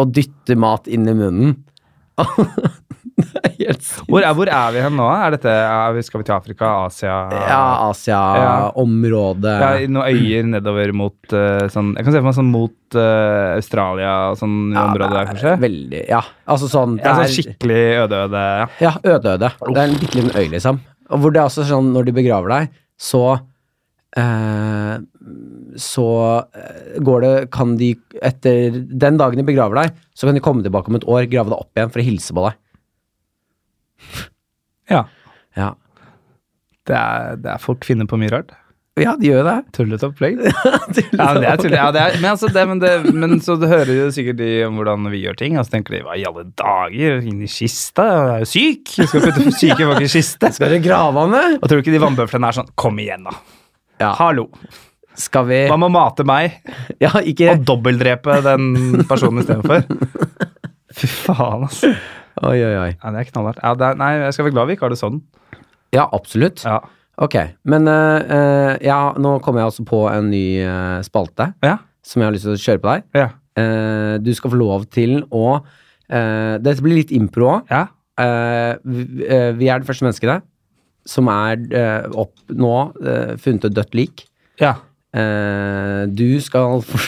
Speaker 2: og dytter mat inn i munnen. det er helt sykt.
Speaker 3: Hvor er, hvor er vi hen nå? Er dette, er vi, skal vi til Afrika, Asia?
Speaker 2: Ja,
Speaker 3: Ja.
Speaker 2: Asia-området.
Speaker 3: Ja, i noen øyer nedover mot eh, sånn, Jeg kan se for meg sånn mot eh, Australia og sånn område der, kanskje.
Speaker 2: Veldig, ja. Altså sånn, det
Speaker 3: Ja, sånn
Speaker 2: er-
Speaker 3: skikkelig øde-øde. Ja.
Speaker 2: Ja, øde-øde. Det er en bitte liten øy, liksom. Og hvor det er også sånn, når de begraver deg, så eh, Så eh, går det Kan de etter Den dagen de begraver deg, så kan de komme tilbake om et år, grave deg opp igjen for å hilse på deg.
Speaker 3: ja.
Speaker 2: Ja,
Speaker 3: Det er, det er folk finner på mye rart.
Speaker 2: ja de gjør det.
Speaker 3: Tullete opplegg. Ja, men det er tullete. Ja, det er, men, altså, det, men, det, men så det hører jo sikkert de om hvordan vi gjør ting, og så tenker de hva i alle dager, inn i kista, jeg er jo syk, jeg skal putte syke folk i kiste.
Speaker 2: Skal dere grave han ned?
Speaker 3: Og tror du ikke de vannbøflene er sånn, kom igjen da.
Speaker 2: Ja.
Speaker 3: Hallo,
Speaker 2: Skal vi
Speaker 3: hva med å mate meg
Speaker 2: Ja, ikke
Speaker 3: og dobbeltdrepe den personen istedenfor? Fy faen, altså.
Speaker 2: Oi, oi, oi.
Speaker 3: Ja, det er knallhardt. Ja, det er, nei, jeg skal være glad vi ikke har det sånn.
Speaker 2: Ja, absolutt.
Speaker 3: Ja.
Speaker 2: Ok. Men eh, eh, ja, nå kommer jeg altså på en ny eh, spalte
Speaker 3: Ja.
Speaker 2: som jeg har lyst til å kjøre på deg.
Speaker 3: Ja.
Speaker 2: Eh, du skal få lov til å eh, Dette blir litt impro òg.
Speaker 3: ja.
Speaker 2: vi, eh, vi er det første menneskene som er eh, opp nå eh, funnet et dødt lik.
Speaker 3: ja.
Speaker 2: Eh, du skal for,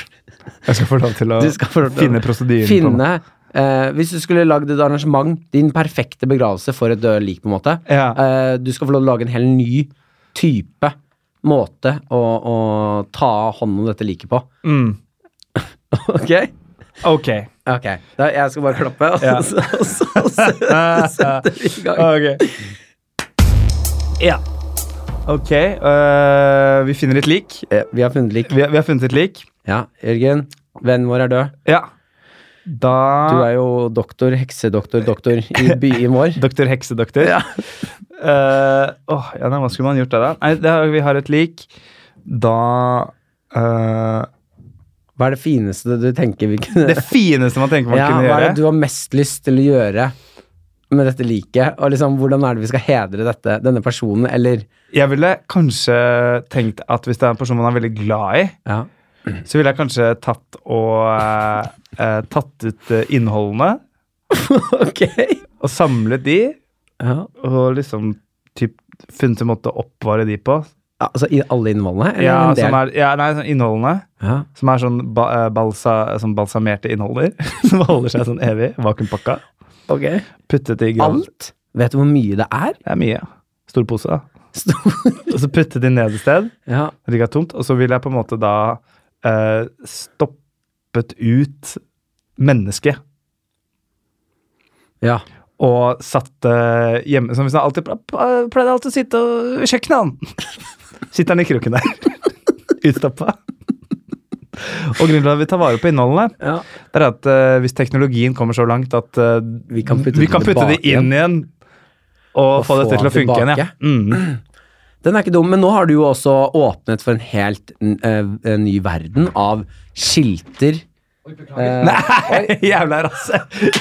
Speaker 3: Jeg skal få lov til å
Speaker 2: du skal for,
Speaker 3: finne prosedyren. på en måte.
Speaker 2: finne eh, Hvis du skulle lagd et arrangement, din perfekte begravelse for et dødt lik, på en måte
Speaker 3: Ja.
Speaker 2: eh, Du skal få lov til å lage en helt ny type måte å, å ta hånd om dette liket på.
Speaker 3: Mm.
Speaker 2: Ok?
Speaker 3: Ok.
Speaker 2: Ok, da, jeg skal bare klappe, og
Speaker 3: Ja.
Speaker 2: så, og så, og så setter vi i gang.
Speaker 3: Ah, Ok. Ja. Ok, øh, vi finner et lik.
Speaker 2: Eh, Vi har funnet lik.
Speaker 3: Vi, vi har funnet et lik.
Speaker 2: Ja, Jørgen, vennen vår er død.
Speaker 3: Ja.
Speaker 2: Du
Speaker 3: Da
Speaker 2: er jo doktor, heksedoktor, doktor i byen vår.
Speaker 3: Doktor Heksedoktor.
Speaker 2: Ja.
Speaker 3: Eh, åh, ja, nei, hva skulle man gjort der, da? Nei, det, har- vi har et lik. Da øh,
Speaker 2: Hva er det fineste du tenker vi kunne
Speaker 3: Det fineste man tenker man
Speaker 2: ja,
Speaker 3: kunne
Speaker 2: Hva er det
Speaker 3: gjøre.
Speaker 2: du har mest lyst til å gjøre med dette liket? Og liksom, hvordan er det vi skal hedre dette, denne personen, eller
Speaker 3: Jeg ville kanskje tenkt at hvis det er en person man er veldig glad i,
Speaker 2: Ja.
Speaker 3: så ville jeg kanskje tatt og eh, eh, tatt ut eh, innholdene
Speaker 2: Ok.
Speaker 3: og samlet de.
Speaker 2: Ja.
Speaker 3: og liksom typ, funnet en måte å oppvare de på.
Speaker 2: Altså i alle innvollene? Eller
Speaker 3: Ja,
Speaker 2: en del?
Speaker 3: som er, ja, nei, sånn innholdene.
Speaker 2: ja.
Speaker 3: Som er sånn ba, eh, balsa, sånn balsamerte innholder. Som holder seg sånn evig. Vakuumpakka.
Speaker 2: Ok.
Speaker 3: Puttet i gran.
Speaker 2: Alt? Vet du hvor mye det er?
Speaker 3: Det er mye. Stor pose, da.
Speaker 2: Stor.
Speaker 3: Og så puttet de ned et sted.
Speaker 2: Ja.
Speaker 3: Det ligger tomt. Og så vil jeg på en måte da eh, stoppet ut mennesket.
Speaker 2: ja.
Speaker 3: Og satt eh, hjemme Som vi sa, alltid pleide alltid å sitte og- ved kjøkkenet, han. Sitter han i krukken der. Utstoppa. Og grunnen til at vi tar vare på innholdet,
Speaker 2: ja.
Speaker 3: det er at eh, hvis teknologien kommer så langt at eh,
Speaker 2: Vi kan putte det
Speaker 3: det
Speaker 2: tilbake
Speaker 3: inn igjen, og,
Speaker 2: Og
Speaker 3: få
Speaker 2: få
Speaker 3: dette til å
Speaker 2: han
Speaker 3: funke igjen, ja.
Speaker 2: tilbake.
Speaker 3: Mm.
Speaker 2: Den er ikke dum, men nå har du jo også åpnet for en helt n- eh, ny verden av skilter. Eh,
Speaker 3: Nei, jævla rasse!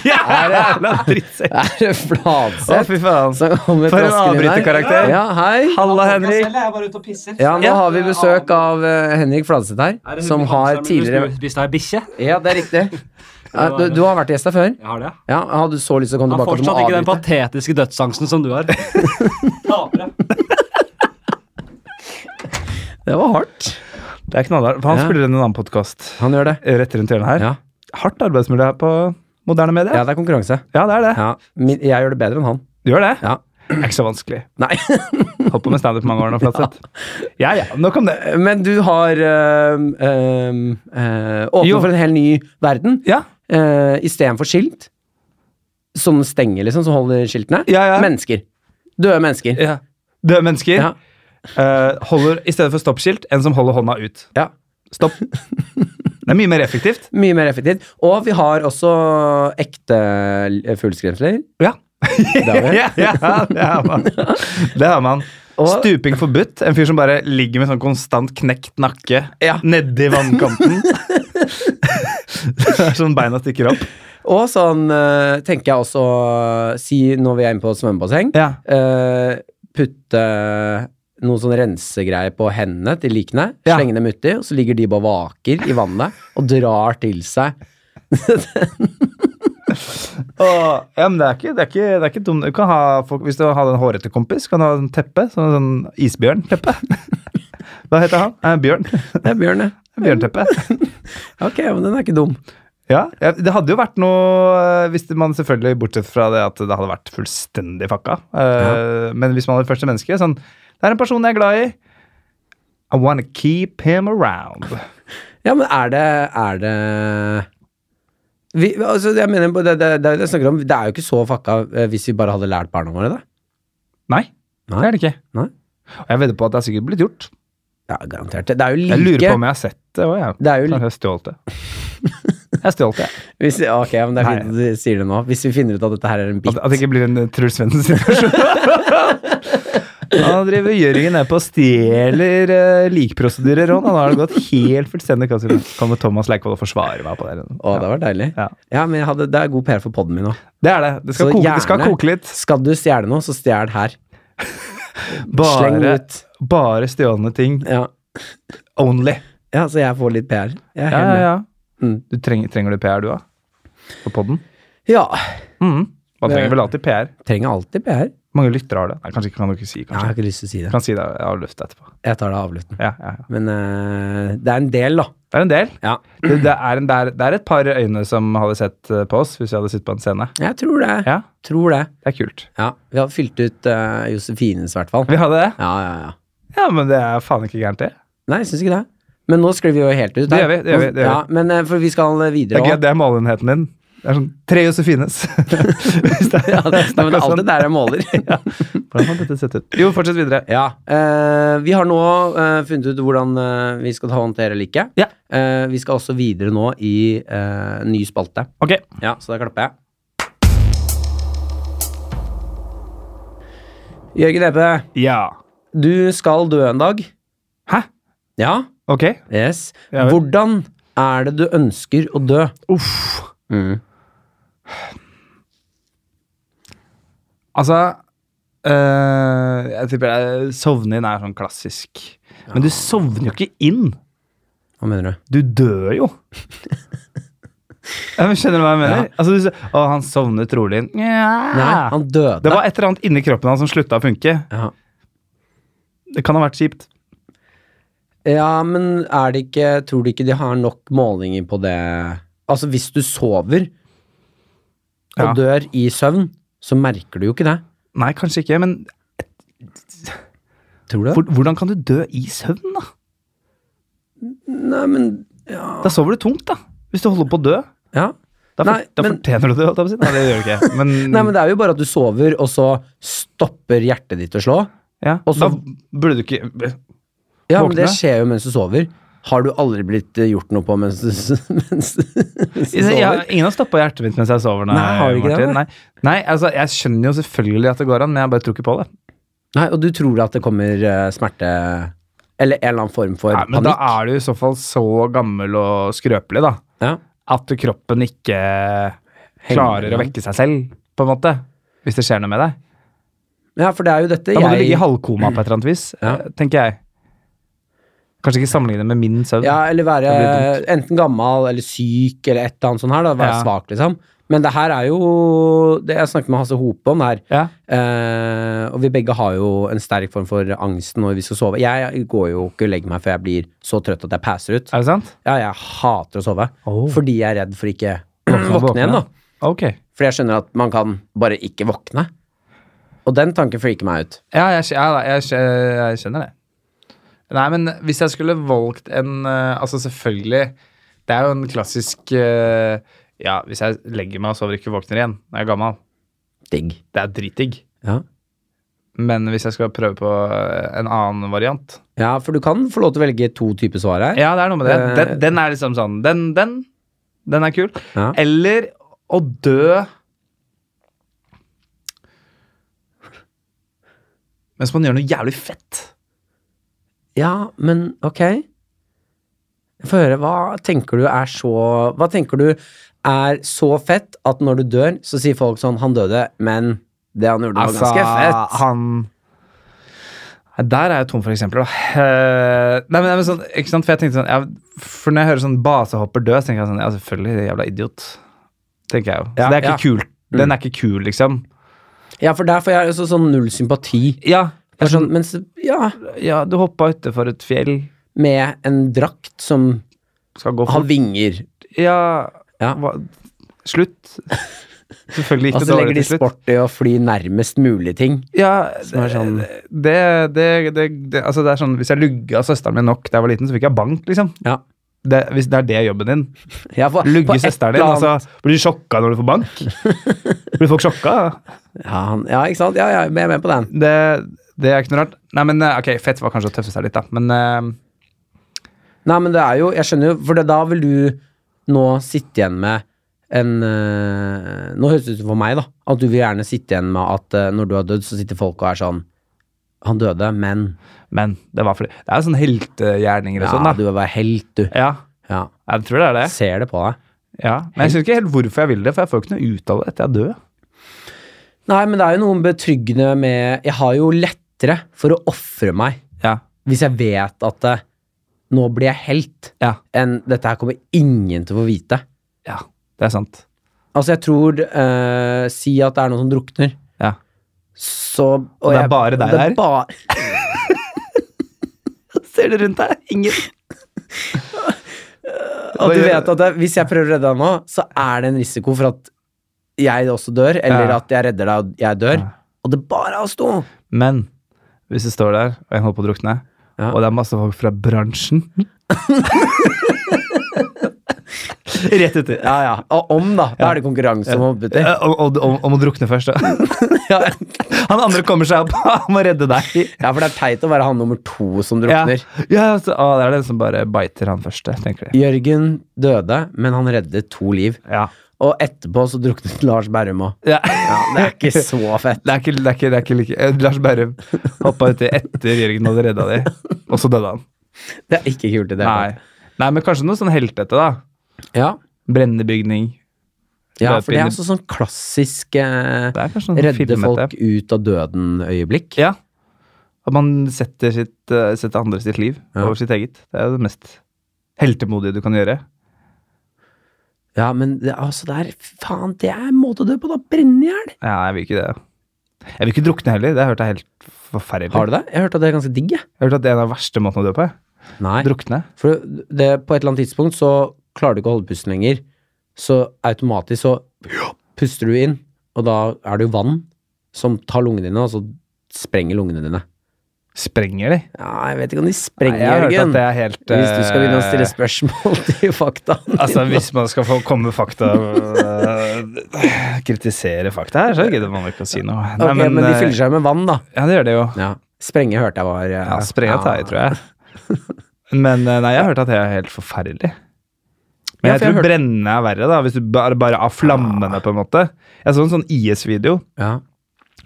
Speaker 3: Jævla drittsekk!
Speaker 2: er det
Speaker 3: Å,
Speaker 2: Fladseth
Speaker 3: fy faen.
Speaker 2: som kommer
Speaker 3: For
Speaker 2: traskende
Speaker 3: en
Speaker 2: inn her?
Speaker 3: avbryterkarakter.
Speaker 2: Ja, hei.
Speaker 3: Halla, Henrik.
Speaker 4: Jeg er bare ute og pisser.
Speaker 2: Ja, nå
Speaker 3: Ja.
Speaker 2: har vi besøk av eh, Henrik Fladseth
Speaker 4: Er
Speaker 2: her,
Speaker 4: det
Speaker 2: som
Speaker 4: Henrik
Speaker 2: har
Speaker 4: Hansen, men
Speaker 2: tidligere
Speaker 4: Du spiste ei bikkje?
Speaker 2: Ja, det er riktig. Ja, du, du har vært gjest her før.
Speaker 4: Jeg har det.
Speaker 2: Ja, Hadde du så lyst til å komme
Speaker 4: Han har
Speaker 2: tilbake? at du må
Speaker 4: fortsatt ikke den
Speaker 2: avbryte?
Speaker 4: patetiske dødsangsten som du har. Tapere.
Speaker 2: Det var hardt.
Speaker 3: Det er knallhardt. for Han
Speaker 2: Ja.
Speaker 3: spiller inn en annen podkast
Speaker 2: Han gjør det.
Speaker 3: rett rundt hjørnet her.
Speaker 2: Ja.
Speaker 3: Hardt arbeidsmiljø her på moderne
Speaker 2: ja,
Speaker 3: medier.
Speaker 2: det er konkurranse.
Speaker 3: Ja, det er det.
Speaker 2: Ja, min, Jeg gjør det bedre enn han.
Speaker 3: Du gjør det?
Speaker 2: Ja.
Speaker 3: Det er ikke så vanskelig.
Speaker 2: Nei.
Speaker 3: Holdt på med standup mange år nå, Flatseth. Ja. ja, nok om det.
Speaker 2: Men du har øhm, øhm, øh, åpnet
Speaker 3: Jo.
Speaker 2: for en helt ny verden.
Speaker 3: Ja,
Speaker 2: øh, Istedenfor skilt. Sånne stenger, liksom, som holder skiltene.
Speaker 3: Ja, ja.
Speaker 2: Mennesker. Døde mennesker.
Speaker 3: ja. Døde mennesker
Speaker 2: Ja.
Speaker 3: eh, holder i stedet for stoppskilt en som holder hånda ut.
Speaker 2: Ja.
Speaker 3: Stopp. Det er mye mer effektivt.
Speaker 2: Mye mer effektivt. Og vi har også ekte l- fugleskremsler.
Speaker 3: Ja.
Speaker 2: Det har vi.
Speaker 3: Ja, ja, det har man. Det har man.
Speaker 2: Og-
Speaker 3: Stuping forbudt. En fyr som bare ligger med sånn konstant knekt nakke
Speaker 2: Ja.
Speaker 3: nedi vannkanten. sånn beina stikker opp.
Speaker 2: Og sånn øh, tenker jeg også Si når vi er inne på svømmebasseng.
Speaker 3: Ja.
Speaker 2: øh, putte noen sånn rensegreier på hendene til likene,
Speaker 3: Ja.
Speaker 2: slenge dem uti, og så ligger de bare og vaker i vannet og drar til seg
Speaker 3: Åh, ja, men det er ikke, det er ikke, det er ikke dumt. Du kan ha folk, hvis du har en hårete kompis, kan du ha en teppe. Sånn, sånn isbjørnteppe. Hva heter han? Eh, bjørn.
Speaker 2: Det er Bjørn, det.
Speaker 3: Bjørnteppe.
Speaker 2: Ok, men den er ikke dum.
Speaker 3: Ja, ja, det hadde jo vært noe eh, Hvis man selvfølgelig, bortsett fra det at det hadde vært fullstendig fakka. eh, Men hvis man var det første mennesket sånn, Det er en person jeg er glad i. I wanna keep him around.
Speaker 2: Ja, men er det Er det vi, altså, jeg mener, det, det, det, jeg snakker om, det er jo ikke så fucka eh, hvis vi bare hadde lært barna våre det.
Speaker 3: Nei,
Speaker 2: Nei.
Speaker 3: det er det ikke.
Speaker 2: Nei.
Speaker 3: Og jeg vedder på at det har sikkert blitt gjort.
Speaker 2: Ja, garantert. Det er jo
Speaker 3: Jeg lurer
Speaker 2: like
Speaker 3: på om jeg har sett det òg, jeg.
Speaker 2: Det er jo
Speaker 3: Kanskje jeg stjal det. Jeg stjal det.
Speaker 2: hvis, Ok, men det er fint at du sier det nå. Hvis vi finner ut at dette her er en bit
Speaker 3: At, at det ikke blir en eh, Truls Svendsen-situasjon. Han driver Jørgen ned på og stjeler uh, likprosedyrer, Ron. Han har det gått helt fullstendig kaos. i dag. Kommer Thomas Leikvoll og forsvarer meg på det. eller noe.
Speaker 2: Å, det var deilig.
Speaker 3: Ja.
Speaker 2: Ja, men jeg hadde, det er god PR for poden min nå.
Speaker 3: Det er det. Det skal,
Speaker 2: Så
Speaker 3: koke, det skal
Speaker 2: gjerne-
Speaker 3: koke litt.
Speaker 2: Skal du stjele noe, så stjel her. Sleng
Speaker 3: Bare,
Speaker 2: ut.
Speaker 3: bare stjålne ting.
Speaker 2: Ja.
Speaker 3: Only.
Speaker 2: ja, så jeg får litt PR. Jeg er
Speaker 3: Ja,
Speaker 2: helt
Speaker 3: ja,
Speaker 2: med.
Speaker 3: ja.
Speaker 2: Mm.
Speaker 3: Du trenger, trenger du PR, du, da? På poden?
Speaker 2: ja.
Speaker 3: Mm. Man
Speaker 2: Det-
Speaker 3: trenger vel alltid PR.
Speaker 2: Trenger alltid PR.
Speaker 3: Hvor Mange lyttere har det. Nei, kanskje ikke kan du ikke si,
Speaker 2: Jeg har
Speaker 3: kanskje.
Speaker 2: ikke lyst til å si det.
Speaker 3: Kan si det av luft etterpå.
Speaker 2: Jeg tar det av avlytten.
Speaker 3: Ja, ja, ja.
Speaker 2: Men eh, det er en del, da.
Speaker 3: Det er en del.
Speaker 2: Ja,
Speaker 3: Det, det, er en, det, er, det er et par øyne som hadde sett eh, på oss hvis vi hadde sittet på en scene.
Speaker 2: jeg tror det.
Speaker 3: Ja,
Speaker 2: Tror det.
Speaker 3: det er kult.
Speaker 2: Ja, vi har fylt ut eh, Josefines, i hvert fall.
Speaker 3: Vi hadde det?
Speaker 2: Ja, ja, ja.
Speaker 3: Ja, men det er faen ikke gærent, det.
Speaker 2: Nei, jeg syns ikke det. Men nå sklir vi jo helt ut.
Speaker 3: Det gjør vi, det gjør vi, det gjør vi.
Speaker 2: Ja, men eh, for vi skal
Speaker 3: Det
Speaker 2: videre
Speaker 3: er, gøy,
Speaker 2: òg.
Speaker 3: det er målenheten din. Det er sånn Tre Josefines. Hvis det er-
Speaker 2: Ja, det, men det er
Speaker 3: sånn.
Speaker 2: alltid der jeg måler.
Speaker 3: Hvordan har dette sett ut? Jo, fortsett videre.
Speaker 2: Ja. eh, vi har nå eh, funnet ut hvordan eh, vi skal håndtere like.
Speaker 3: Ja.
Speaker 2: Eh, vi skal også videre nå i eh, ny spalte.
Speaker 3: Ok.
Speaker 2: Ja, så da klapper jeg. Jørgen Epe,
Speaker 3: Ja.
Speaker 2: du skal dø en dag.
Speaker 3: Hæ?
Speaker 2: Ja.
Speaker 3: Ok.
Speaker 2: Yes.
Speaker 3: Ja vel.
Speaker 2: Hvordan er det du ønsker å dø?
Speaker 3: Uff.
Speaker 2: Mm.
Speaker 3: Altså øh, Jeg tipper det er- sovne inn er sånn klassisk. Men du sovner jo ikke inn.
Speaker 2: Hva mener du?
Speaker 3: Du dør jo. Ja, men skjønner du hva jeg mener? Altså, du, s- å, han sovnet rolig inn. Nja.
Speaker 2: Nei, han døde.
Speaker 3: Det var et eller annet inni kroppen hans som slutta å funke.
Speaker 2: ja.
Speaker 3: Det kan ha vært kjipt.
Speaker 2: ja, men er det ikke Tror du ikke de har nok målinger på det Altså, hvis du sover og
Speaker 3: Ja.
Speaker 2: dør i søvn, så merker du jo ikke det.
Speaker 3: Nei, kanskje ikke, men
Speaker 2: Tror du det?
Speaker 3: hvor, hvordan kan du dø i søvn, da?
Speaker 2: Nei, men
Speaker 3: Da sover du tungt, da. Hvis du holder på å dø.
Speaker 2: Ja.
Speaker 3: Da, for,
Speaker 2: Nei,
Speaker 3: da
Speaker 2: men-
Speaker 3: fortjener du det, holdt jeg på å si. Nei, det gjør du ikke. Men,
Speaker 2: Nei, men det er jo bare at du sover, og så stopper hjertet ditt å slå.
Speaker 3: ja,
Speaker 2: og så-
Speaker 3: da burde du ikke
Speaker 2: Ja, men det
Speaker 3: Våkne.
Speaker 2: skjer jo mens du sover. Har du aldri blitt eh, gjort noe på mens du, mens, mens du
Speaker 3: Jeg-
Speaker 2: sover?
Speaker 3: jeg- Ingen har stoppa hjertet mitt mens jeg sover. Nei,
Speaker 2: Nei, har du ikke det,
Speaker 3: Martin. Nei. Nei, altså, jeg skjønner jo selvfølgelig at det går an, men jeg bare tror ikke på det.
Speaker 2: Nei, og du tror at det kommer eh, smerte Eller en eller annen form for
Speaker 3: Nei, men
Speaker 2: panikk?
Speaker 3: da er du i så fall så gammel og skrøpelig, da,
Speaker 2: Ja.
Speaker 3: at du- kroppen ikke klarer å
Speaker 2: med.
Speaker 3: vekke seg selv, på en måte. Hvis det skjer noe med deg.
Speaker 2: ja, for det er jo dette
Speaker 3: Da må du
Speaker 2: jeg
Speaker 3: ligge i halvkoma på et eller annet vis,
Speaker 2: Ja.
Speaker 3: eh, tenker jeg. Kanskje ikke sammenligne med min søvn.
Speaker 2: Ja, eller være
Speaker 3: Det
Speaker 2: enten gammal eller syk eller et eller annet sånt her. Da. Være
Speaker 3: Ja.
Speaker 2: svak, liksom. Men det her er jo det jeg snakket med Hasse Hope om her.
Speaker 3: Ja.
Speaker 2: Eh, og vi begge har jo en sterk form for angst når vi skal sove. Jeg går jo ikke og legger meg før jeg blir så trøtt at jeg passer ut.
Speaker 3: Er det sant?
Speaker 2: Ja, jeg hater å sove.
Speaker 3: Oh.
Speaker 2: Fordi jeg er redd for ikke
Speaker 3: Våkne,
Speaker 2: våkne igjen, da.
Speaker 3: Ok.
Speaker 2: Fordi jeg skjønner at man kan bare ikke våkne. Og den tanken freaker meg ut.
Speaker 3: Ja, jeg, skj- ja, jeg, skj- jeg skjønner det. Nei, men hvis jeg skulle valgt en eh, Altså, selvfølgelig Det er jo en klassisk eh, Ja, hvis jeg legger meg og sover ikke våkner igjen når jeg er gammel,
Speaker 2: Digg.
Speaker 3: det er dritdigg.
Speaker 2: Ja.
Speaker 3: Men hvis jeg skal prøve på eh, en annen variant
Speaker 2: ja, for du kan få lov til å velge to typer svar her.
Speaker 3: Ja, det er noe med det.
Speaker 2: Eh,
Speaker 3: Den, den er liksom sånn Den, den, den er kul.
Speaker 2: Ja.
Speaker 3: Eller å dø Mens man gjør noe jævlig fett.
Speaker 2: Ja, men ok. Få høre, hva tenker du er så Hva tenker du er så fett at når du dør, så sier
Speaker 3: Altså,
Speaker 2: folk sånn Han døde, men det han gjorde, var ganske fett.
Speaker 3: han Nei, Der er jeg tom for eksempler, da. Eh, Nei, men, nei, men sånn, ikke sant, for jeg tenkte sånn ja, For når jeg hører sånn basehopper dø, så tenker jeg sånn Ja, selvfølgelig, det er jævla idiot. Tenker jeg jo. Så
Speaker 2: Ja,
Speaker 3: det er ikke
Speaker 2: ja. Mm.
Speaker 3: kult. Den er ikke kul, liksom.
Speaker 2: Ja, for der får jeg altså sånn null sympati.
Speaker 3: Ja,
Speaker 2: Det er sånn, mens, ja,
Speaker 3: ja du hoppa utfor et fjell,
Speaker 2: med en drakt som
Speaker 3: skal gå
Speaker 2: har
Speaker 3: for
Speaker 2: vinger.
Speaker 3: Ja,
Speaker 2: Ja.
Speaker 3: Hva? Slutt. Selvfølgelig gikk
Speaker 2: Og
Speaker 3: det
Speaker 2: så
Speaker 3: dårlig
Speaker 2: legger de
Speaker 3: til slutt.
Speaker 2: sport i å fly nærmest mulig ting.
Speaker 3: Ja,
Speaker 2: Som er sånn-
Speaker 3: det, det, det, det, altså det er sånn, Hvis jeg lugga søsteren min nok da jeg var liten, så fikk jeg bank, liksom.
Speaker 2: Ja.
Speaker 3: Det, hvis det er det jobben din.
Speaker 2: Ja, for- på
Speaker 3: Lugge
Speaker 2: et
Speaker 3: søsteren din,
Speaker 2: eller annet-
Speaker 3: altså. Blir du sjokka når du får bank? blir folk sjokka?
Speaker 2: ja, han, ja, ikke sant? Ja, ja, jeg er med på den.
Speaker 3: Det, det er ikke noe rart. Nei, men eh, ok, fett var kanskje å tøffe seg litt, da. Men eh,
Speaker 2: Nei, men det er jo Jeg skjønner jo, for det, da vil du nå sitte igjen med en øh, Nå høres det ut som for meg, da, at du vil gjerne sitte igjen med at øh, når du har dødd, så sitter folk og er sånn Han døde, men
Speaker 3: men det var fordi Det er sånn heltegjerninger og
Speaker 2: Ja,
Speaker 3: sånn, da.
Speaker 2: du vil være helt, du.
Speaker 3: Ja,
Speaker 2: Ja.
Speaker 3: jeg tror det er det.
Speaker 2: Ser det på deg.
Speaker 3: Ja. Men jeg syns ikke helt hvorfor jeg vil det, for jeg får jo ikke noe ut av det etter jeg er død.
Speaker 2: Nei, men det er jo noe betryggende med Jeg har jo lettere for å ofre meg
Speaker 3: Ja.
Speaker 2: hvis jeg vet at eh, nå blir jeg helt,
Speaker 3: Ja.
Speaker 2: enn dette her kommer ingen til å få vite.
Speaker 3: ja. Det er sant.
Speaker 2: Altså, jeg tror eh, Si at det er noen som drukner,
Speaker 3: Ja.
Speaker 2: så og
Speaker 3: det er bare deg
Speaker 2: det er
Speaker 3: der?
Speaker 2: ba-
Speaker 3: Ser du rundt deg? Ingen.
Speaker 2: at du vet at det, hvis jeg prøver å redde deg nå, så er det en risiko for at jeg også dør, eller
Speaker 3: Ja.
Speaker 2: at jeg redder deg og jeg dør.
Speaker 3: Ja.
Speaker 2: Og det bare er oss to!
Speaker 3: Men hvis du står der, og en holder på å drukne,
Speaker 2: Ja.
Speaker 3: og det er masse folk fra bransjen Rett uti.
Speaker 2: Ja, ja. Og om, da. Da er det konkurranse om å hoppe uti.
Speaker 3: Eh, Om, om, om, om å drukne først, da.
Speaker 2: Ja.
Speaker 3: Han andre kommer seg opp, han må redde deg.
Speaker 2: ja, for det er teit å være han nummer to som drukner.
Speaker 3: Ja, så, å, det er den som bare biter han første, tenker de.
Speaker 2: Jørgen døde, men han reddet to liv.
Speaker 3: Ja.
Speaker 2: Og etterpå så druknet Lars Berrum òg.
Speaker 3: Ja.
Speaker 2: Det er ikke så fett.
Speaker 3: Det er ikke, det er ikke, det er ikke like eh, Lars Berrum hoppa uti etter Jørgen hadde redda de, og så døde han.
Speaker 2: Det er ikke kult i det hele
Speaker 3: Nei. Nei, men kanskje noe sånn heltete, da.
Speaker 2: tatt. Ja.
Speaker 3: Brennende bygning.
Speaker 2: ja,
Speaker 3: Løpe
Speaker 2: for det er
Speaker 3: inn i-
Speaker 2: altså sånn klassisk eh,
Speaker 3: Det er kanskje noe
Speaker 2: redde
Speaker 3: filmete.
Speaker 2: folk ut av døden-øyeblikk.
Speaker 3: Ja. At man setter, sitt, eh, setter andre sitt liv
Speaker 2: Ja.
Speaker 3: over sitt eget. Det er jo det mest heltemodige du kan gjøre.
Speaker 2: Ja, men det, altså, det er Faen, det er en måte å dø på, da! Brenne i hjel!
Speaker 3: Ja, jeg vil ikke det. Jeg vil ikke drukne heller. Det har jeg hørt er helt forferdelig.
Speaker 2: Har du det? Jeg hørte at det er ganske digg, jeg.
Speaker 3: Jeg har hørt at det er en av de verste måtene å dø på. jeg.
Speaker 2: Nei.
Speaker 3: Drukne.
Speaker 2: For det, på et eller annet tidspunkt så klarer du ikke å holde pusten lenger. Så automatisk så puster du inn, og da er det jo vann som tar lungene dine, og så sprenger lungene dine.
Speaker 3: Sprenger de?
Speaker 2: Ja, jeg vet ikke om de
Speaker 3: Nei,
Speaker 2: sprenger,
Speaker 3: jeg har hørt at
Speaker 2: Jørgen.
Speaker 3: det er helt
Speaker 2: Hvis du skal begynne å stille
Speaker 3: eh,
Speaker 2: spørsmål til faktaene
Speaker 3: Altså, hvis man skal få komme med fakta eh, Kritisere fakta her, så gidder man ikke å si noe.
Speaker 2: Ok, men, de
Speaker 3: eh,
Speaker 2: fyller seg med vann, da.
Speaker 3: Ja, det gjør det jo.
Speaker 2: Ja. Sprenge hørte jeg var eh,
Speaker 3: Ja, Spray av tei, tror jeg. Men eh, nei, jeg har hørt at det er helt forferdelig. Men
Speaker 2: Ja, for
Speaker 3: jeg
Speaker 2: jeg
Speaker 3: tror
Speaker 2: hørte-
Speaker 3: brennende er verre, da, hvis du bare, bare av flammene, på en måte. Jeg så en sånn IS-video,
Speaker 2: Ja.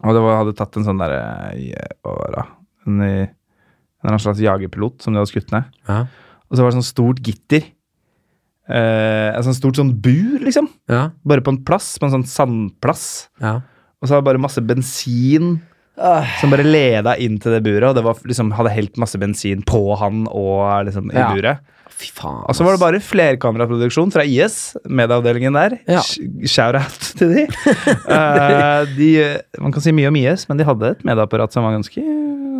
Speaker 3: og det var, hadde tatt en sånn derre Hva var det? En, en eller annen slags jagerpilot som de hadde skutt ned.
Speaker 2: Ja.
Speaker 3: Og så var det sånn stort gitter. Eh, et sånt stort sånn bur, liksom.
Speaker 2: Ja.
Speaker 3: Bare på en plass, på en sånn sandplass.
Speaker 2: ja.
Speaker 3: Og så var det bare masse bensin
Speaker 2: Ah.
Speaker 3: som bare leda inn til det buret, og det var, liksom, hadde helt masse bensin på han og liksom, i
Speaker 2: Ja.
Speaker 3: buret.
Speaker 2: Fy faen.
Speaker 3: Og så var det bare flerkameraproduksjon fra IS, medieavdelingen der.
Speaker 2: Ja.
Speaker 3: Sh- Shout-out til de. Eh, de. Man kan si mye om IS, men de hadde et medieapparat som var ganske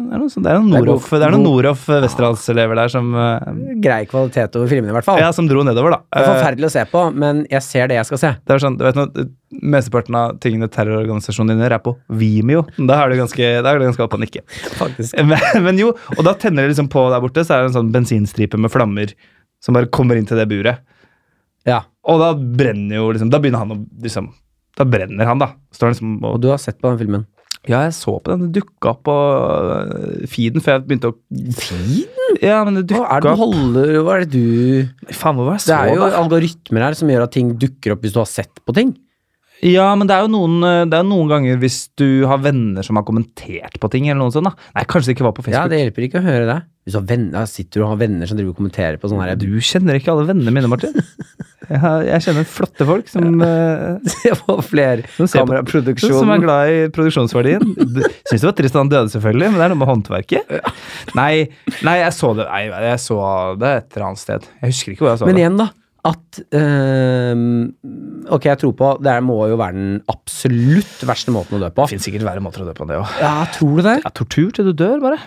Speaker 3: Det er noen, sånn- det er noen
Speaker 2: Det er god-
Speaker 3: Noroff- det er noen
Speaker 2: god-
Speaker 3: Noroff Westerdals-elever der som, eh,
Speaker 2: Grei kvalitet over filmene, i hvert fall.
Speaker 3: ja, som dro nedover, da.
Speaker 2: Det er
Speaker 3: Eh,
Speaker 2: forferdelig å se på, men jeg ser det jeg skal se.
Speaker 3: Det er sånn, du vet noe, Mesteparten av tingene terrororganisasjonen din gjør, er på Vimeo. Da er du ganske, da er du ganske oppe og nikke.
Speaker 2: Faktisk.
Speaker 3: Men, men jo, og da tenner det liksom på der borte, så er det en sånn bensinstripe med flammer som bare kommer inn til det buret.
Speaker 2: Ja.
Speaker 3: Og da brenner jo liksom Da begynner han å liksom Da brenner han, da. Står han liksom
Speaker 2: Og
Speaker 3: og
Speaker 2: du har sett på den filmen.
Speaker 3: Ja, jeg så på den. Det dukka opp på øh, feeden før jeg begynte å
Speaker 2: Feeden?
Speaker 3: Ja, men det
Speaker 2: Hva
Speaker 3: dukka
Speaker 2: er det du
Speaker 3: opp
Speaker 2: holder Hva er det du
Speaker 3: Faen, hva var det
Speaker 2: Det
Speaker 3: jeg så,
Speaker 2: er jo
Speaker 3: da?
Speaker 2: algoritmer her som gjør at ting dukker opp hvis du har sett på ting.
Speaker 3: Ja, men det er jo noen, øh, det er jo noen ganger hvis du har venner som har kommentert på ting, eller noe sånt, da. Nei, kanskje det ikke var på Facebook.
Speaker 2: Ja, det hjelper ikke å høre det. Hvis du har venner, sitter du og har venner som driver og kommenterer på sånn her
Speaker 3: Du kjenner ikke alle vennene mine, Martin. Jeg, har, jeg kjenner flotte folk som, eh,
Speaker 2: Se på Sånn flere
Speaker 3: Som ser på- som er
Speaker 2: kameraproduksjonen.
Speaker 3: glad i produksjonsverdien. Syns det var trist at han døde, selvfølgelig, men det er noe med håndverket. Nei, nei jeg så det nei, jeg så det et eller annet sted. Jeg husker ikke hvor jeg så
Speaker 2: Men
Speaker 3: det.
Speaker 2: igjen, da. At eh, Ok, jeg tror på Det her må jo være den absolutt verste måten å dø på.
Speaker 3: Det fins sikkert verre måter å dø på enn det òg.
Speaker 2: Ja, tror du det?
Speaker 3: Ja, tortur til du dør, bare.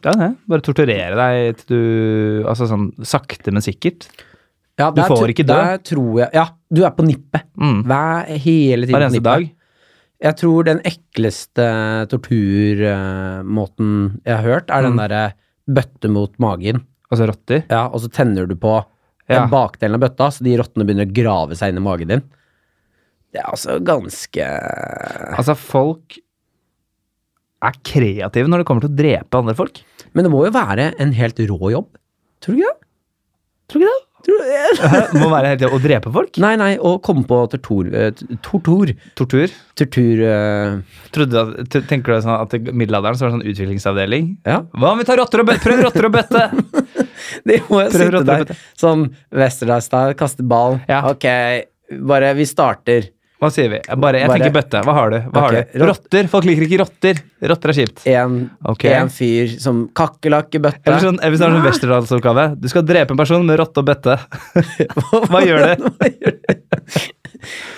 Speaker 3: Det er det. Bare torturere deg til du Altså sånn sakte, men sikkert.
Speaker 2: Ja,
Speaker 3: Du
Speaker 2: der
Speaker 3: får
Speaker 2: tr-
Speaker 3: ikke dø.
Speaker 2: Der tror jeg Ja, du er på nippet.
Speaker 3: Mm.
Speaker 2: Hver, hele tiden.
Speaker 3: Hver
Speaker 2: på
Speaker 3: eneste
Speaker 2: nippet.
Speaker 3: dag.
Speaker 2: Jeg tror den ekleste torturmåten jeg har hørt, er
Speaker 3: Mm.
Speaker 2: den derre bøtte mot magen.
Speaker 3: Altså rotter.
Speaker 2: Ja, og så tenner du på
Speaker 3: Ja.
Speaker 2: den bakdelen av bøtta, så de rottene begynner å grave seg inn i magen din. Det er altså ganske
Speaker 3: Altså, folk er kreative når det kommer til å drepe andre folk.
Speaker 2: Men det må jo være en helt rå jobb. Tror du ikke det?
Speaker 3: Tror du ikke det?
Speaker 2: Tror du det?
Speaker 3: Må være helt å drepe folk.
Speaker 2: Nei, nei, å komme på tortur... eh, t- Tortur.
Speaker 3: Tortur.
Speaker 2: Tortur eh,
Speaker 3: Trodde du at, t- tenker du sånn at i middelalderen så var det sånn utviklingsavdeling?
Speaker 2: Ja.
Speaker 3: Hva om vi tar rotter og bøtte? Prøv rotter og bøtte!
Speaker 2: De må jo
Speaker 3: Prøver å
Speaker 2: sitte
Speaker 3: treffe
Speaker 2: der sånn Westerdagsstyle, kaste ballen.
Speaker 3: Ja.
Speaker 2: Ok, bare vi starter.
Speaker 3: Hva sier vi? Bare, jeg
Speaker 2: Bare-
Speaker 3: tenker bøtte. Hva har du? Hva har
Speaker 2: Ok,
Speaker 3: du? Rotter! Folk liker ikke rotter. Rotter er kjipt.
Speaker 2: En,
Speaker 3: Ok.
Speaker 2: en fyr som kakerlakk i bøtta.
Speaker 3: Eller sånn, hvis det er sånn Westerdals-oppgave. Du skal drepe en person med rotte og bøtte. Hva gjør det?
Speaker 2: Hva gjør du?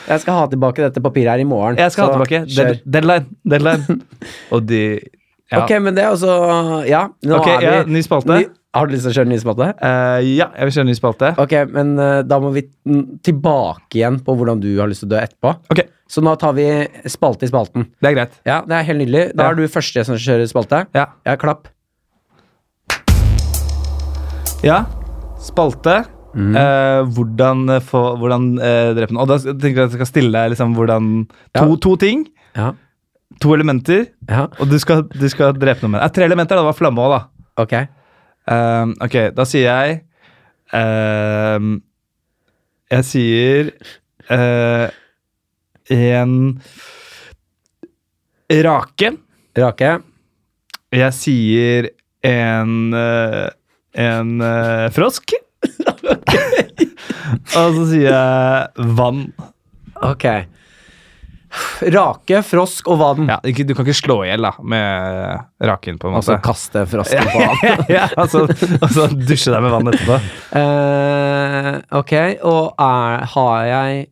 Speaker 2: Jeg skal ha tilbake dette papiret her i morgen.
Speaker 3: Jeg skal ha
Speaker 2: så
Speaker 3: tilbake.
Speaker 2: kjør.
Speaker 3: Dead, deadline. Deadline. Og de ja.
Speaker 2: Ok, men det er altså Ja, nå
Speaker 3: Ok,
Speaker 2: er vi
Speaker 3: ja, ny spalte.
Speaker 2: Ny- Har du lyst til å kjøre ny spalte?
Speaker 3: Eh, ja, jeg vil kjøre en ny spalte.
Speaker 2: Ok, men eh, da må vi mm, tilbake igjen på hvordan du har lyst til å dø etterpå.
Speaker 3: Ok,
Speaker 2: Så nå tar vi spalte i spalten.
Speaker 3: det er greit.
Speaker 2: Ja, det er helt nydelig. Da
Speaker 3: Ja.
Speaker 2: er du første som kjører spalte.
Speaker 3: Ja.
Speaker 2: Ja, klapp.
Speaker 3: ja. Spalte. Eh, hvordan eh, få, hvordan eh, drepe noen. Og da s- tenker jeg at jeg skal stille deg liksom hvordan to,
Speaker 2: Ja.
Speaker 3: to ting.
Speaker 2: Ja.
Speaker 3: To elementer.
Speaker 2: Ja,
Speaker 3: Og du skal, du skal drepe noen med det. Eh, tre elementer, da. Det var flamme òg, da.
Speaker 2: ok.
Speaker 3: Ehm, ok, da sier jeg ehm, Jeg sier eh, en rake.
Speaker 2: Rake.
Speaker 3: Jeg sier en eh, en eh, frosk. Og så sier jeg vann.
Speaker 2: Ok. Rake, frosk og vann.
Speaker 3: Ja, ikke, du kan ikke slå i hjel da, med raken, på en
Speaker 2: Og så
Speaker 3: måte.
Speaker 2: Altså, kaste frosken på vann.
Speaker 3: Altså, ja, altså, altså dusje deg med vann etterpå.
Speaker 2: Eh, ok, og er, har jeg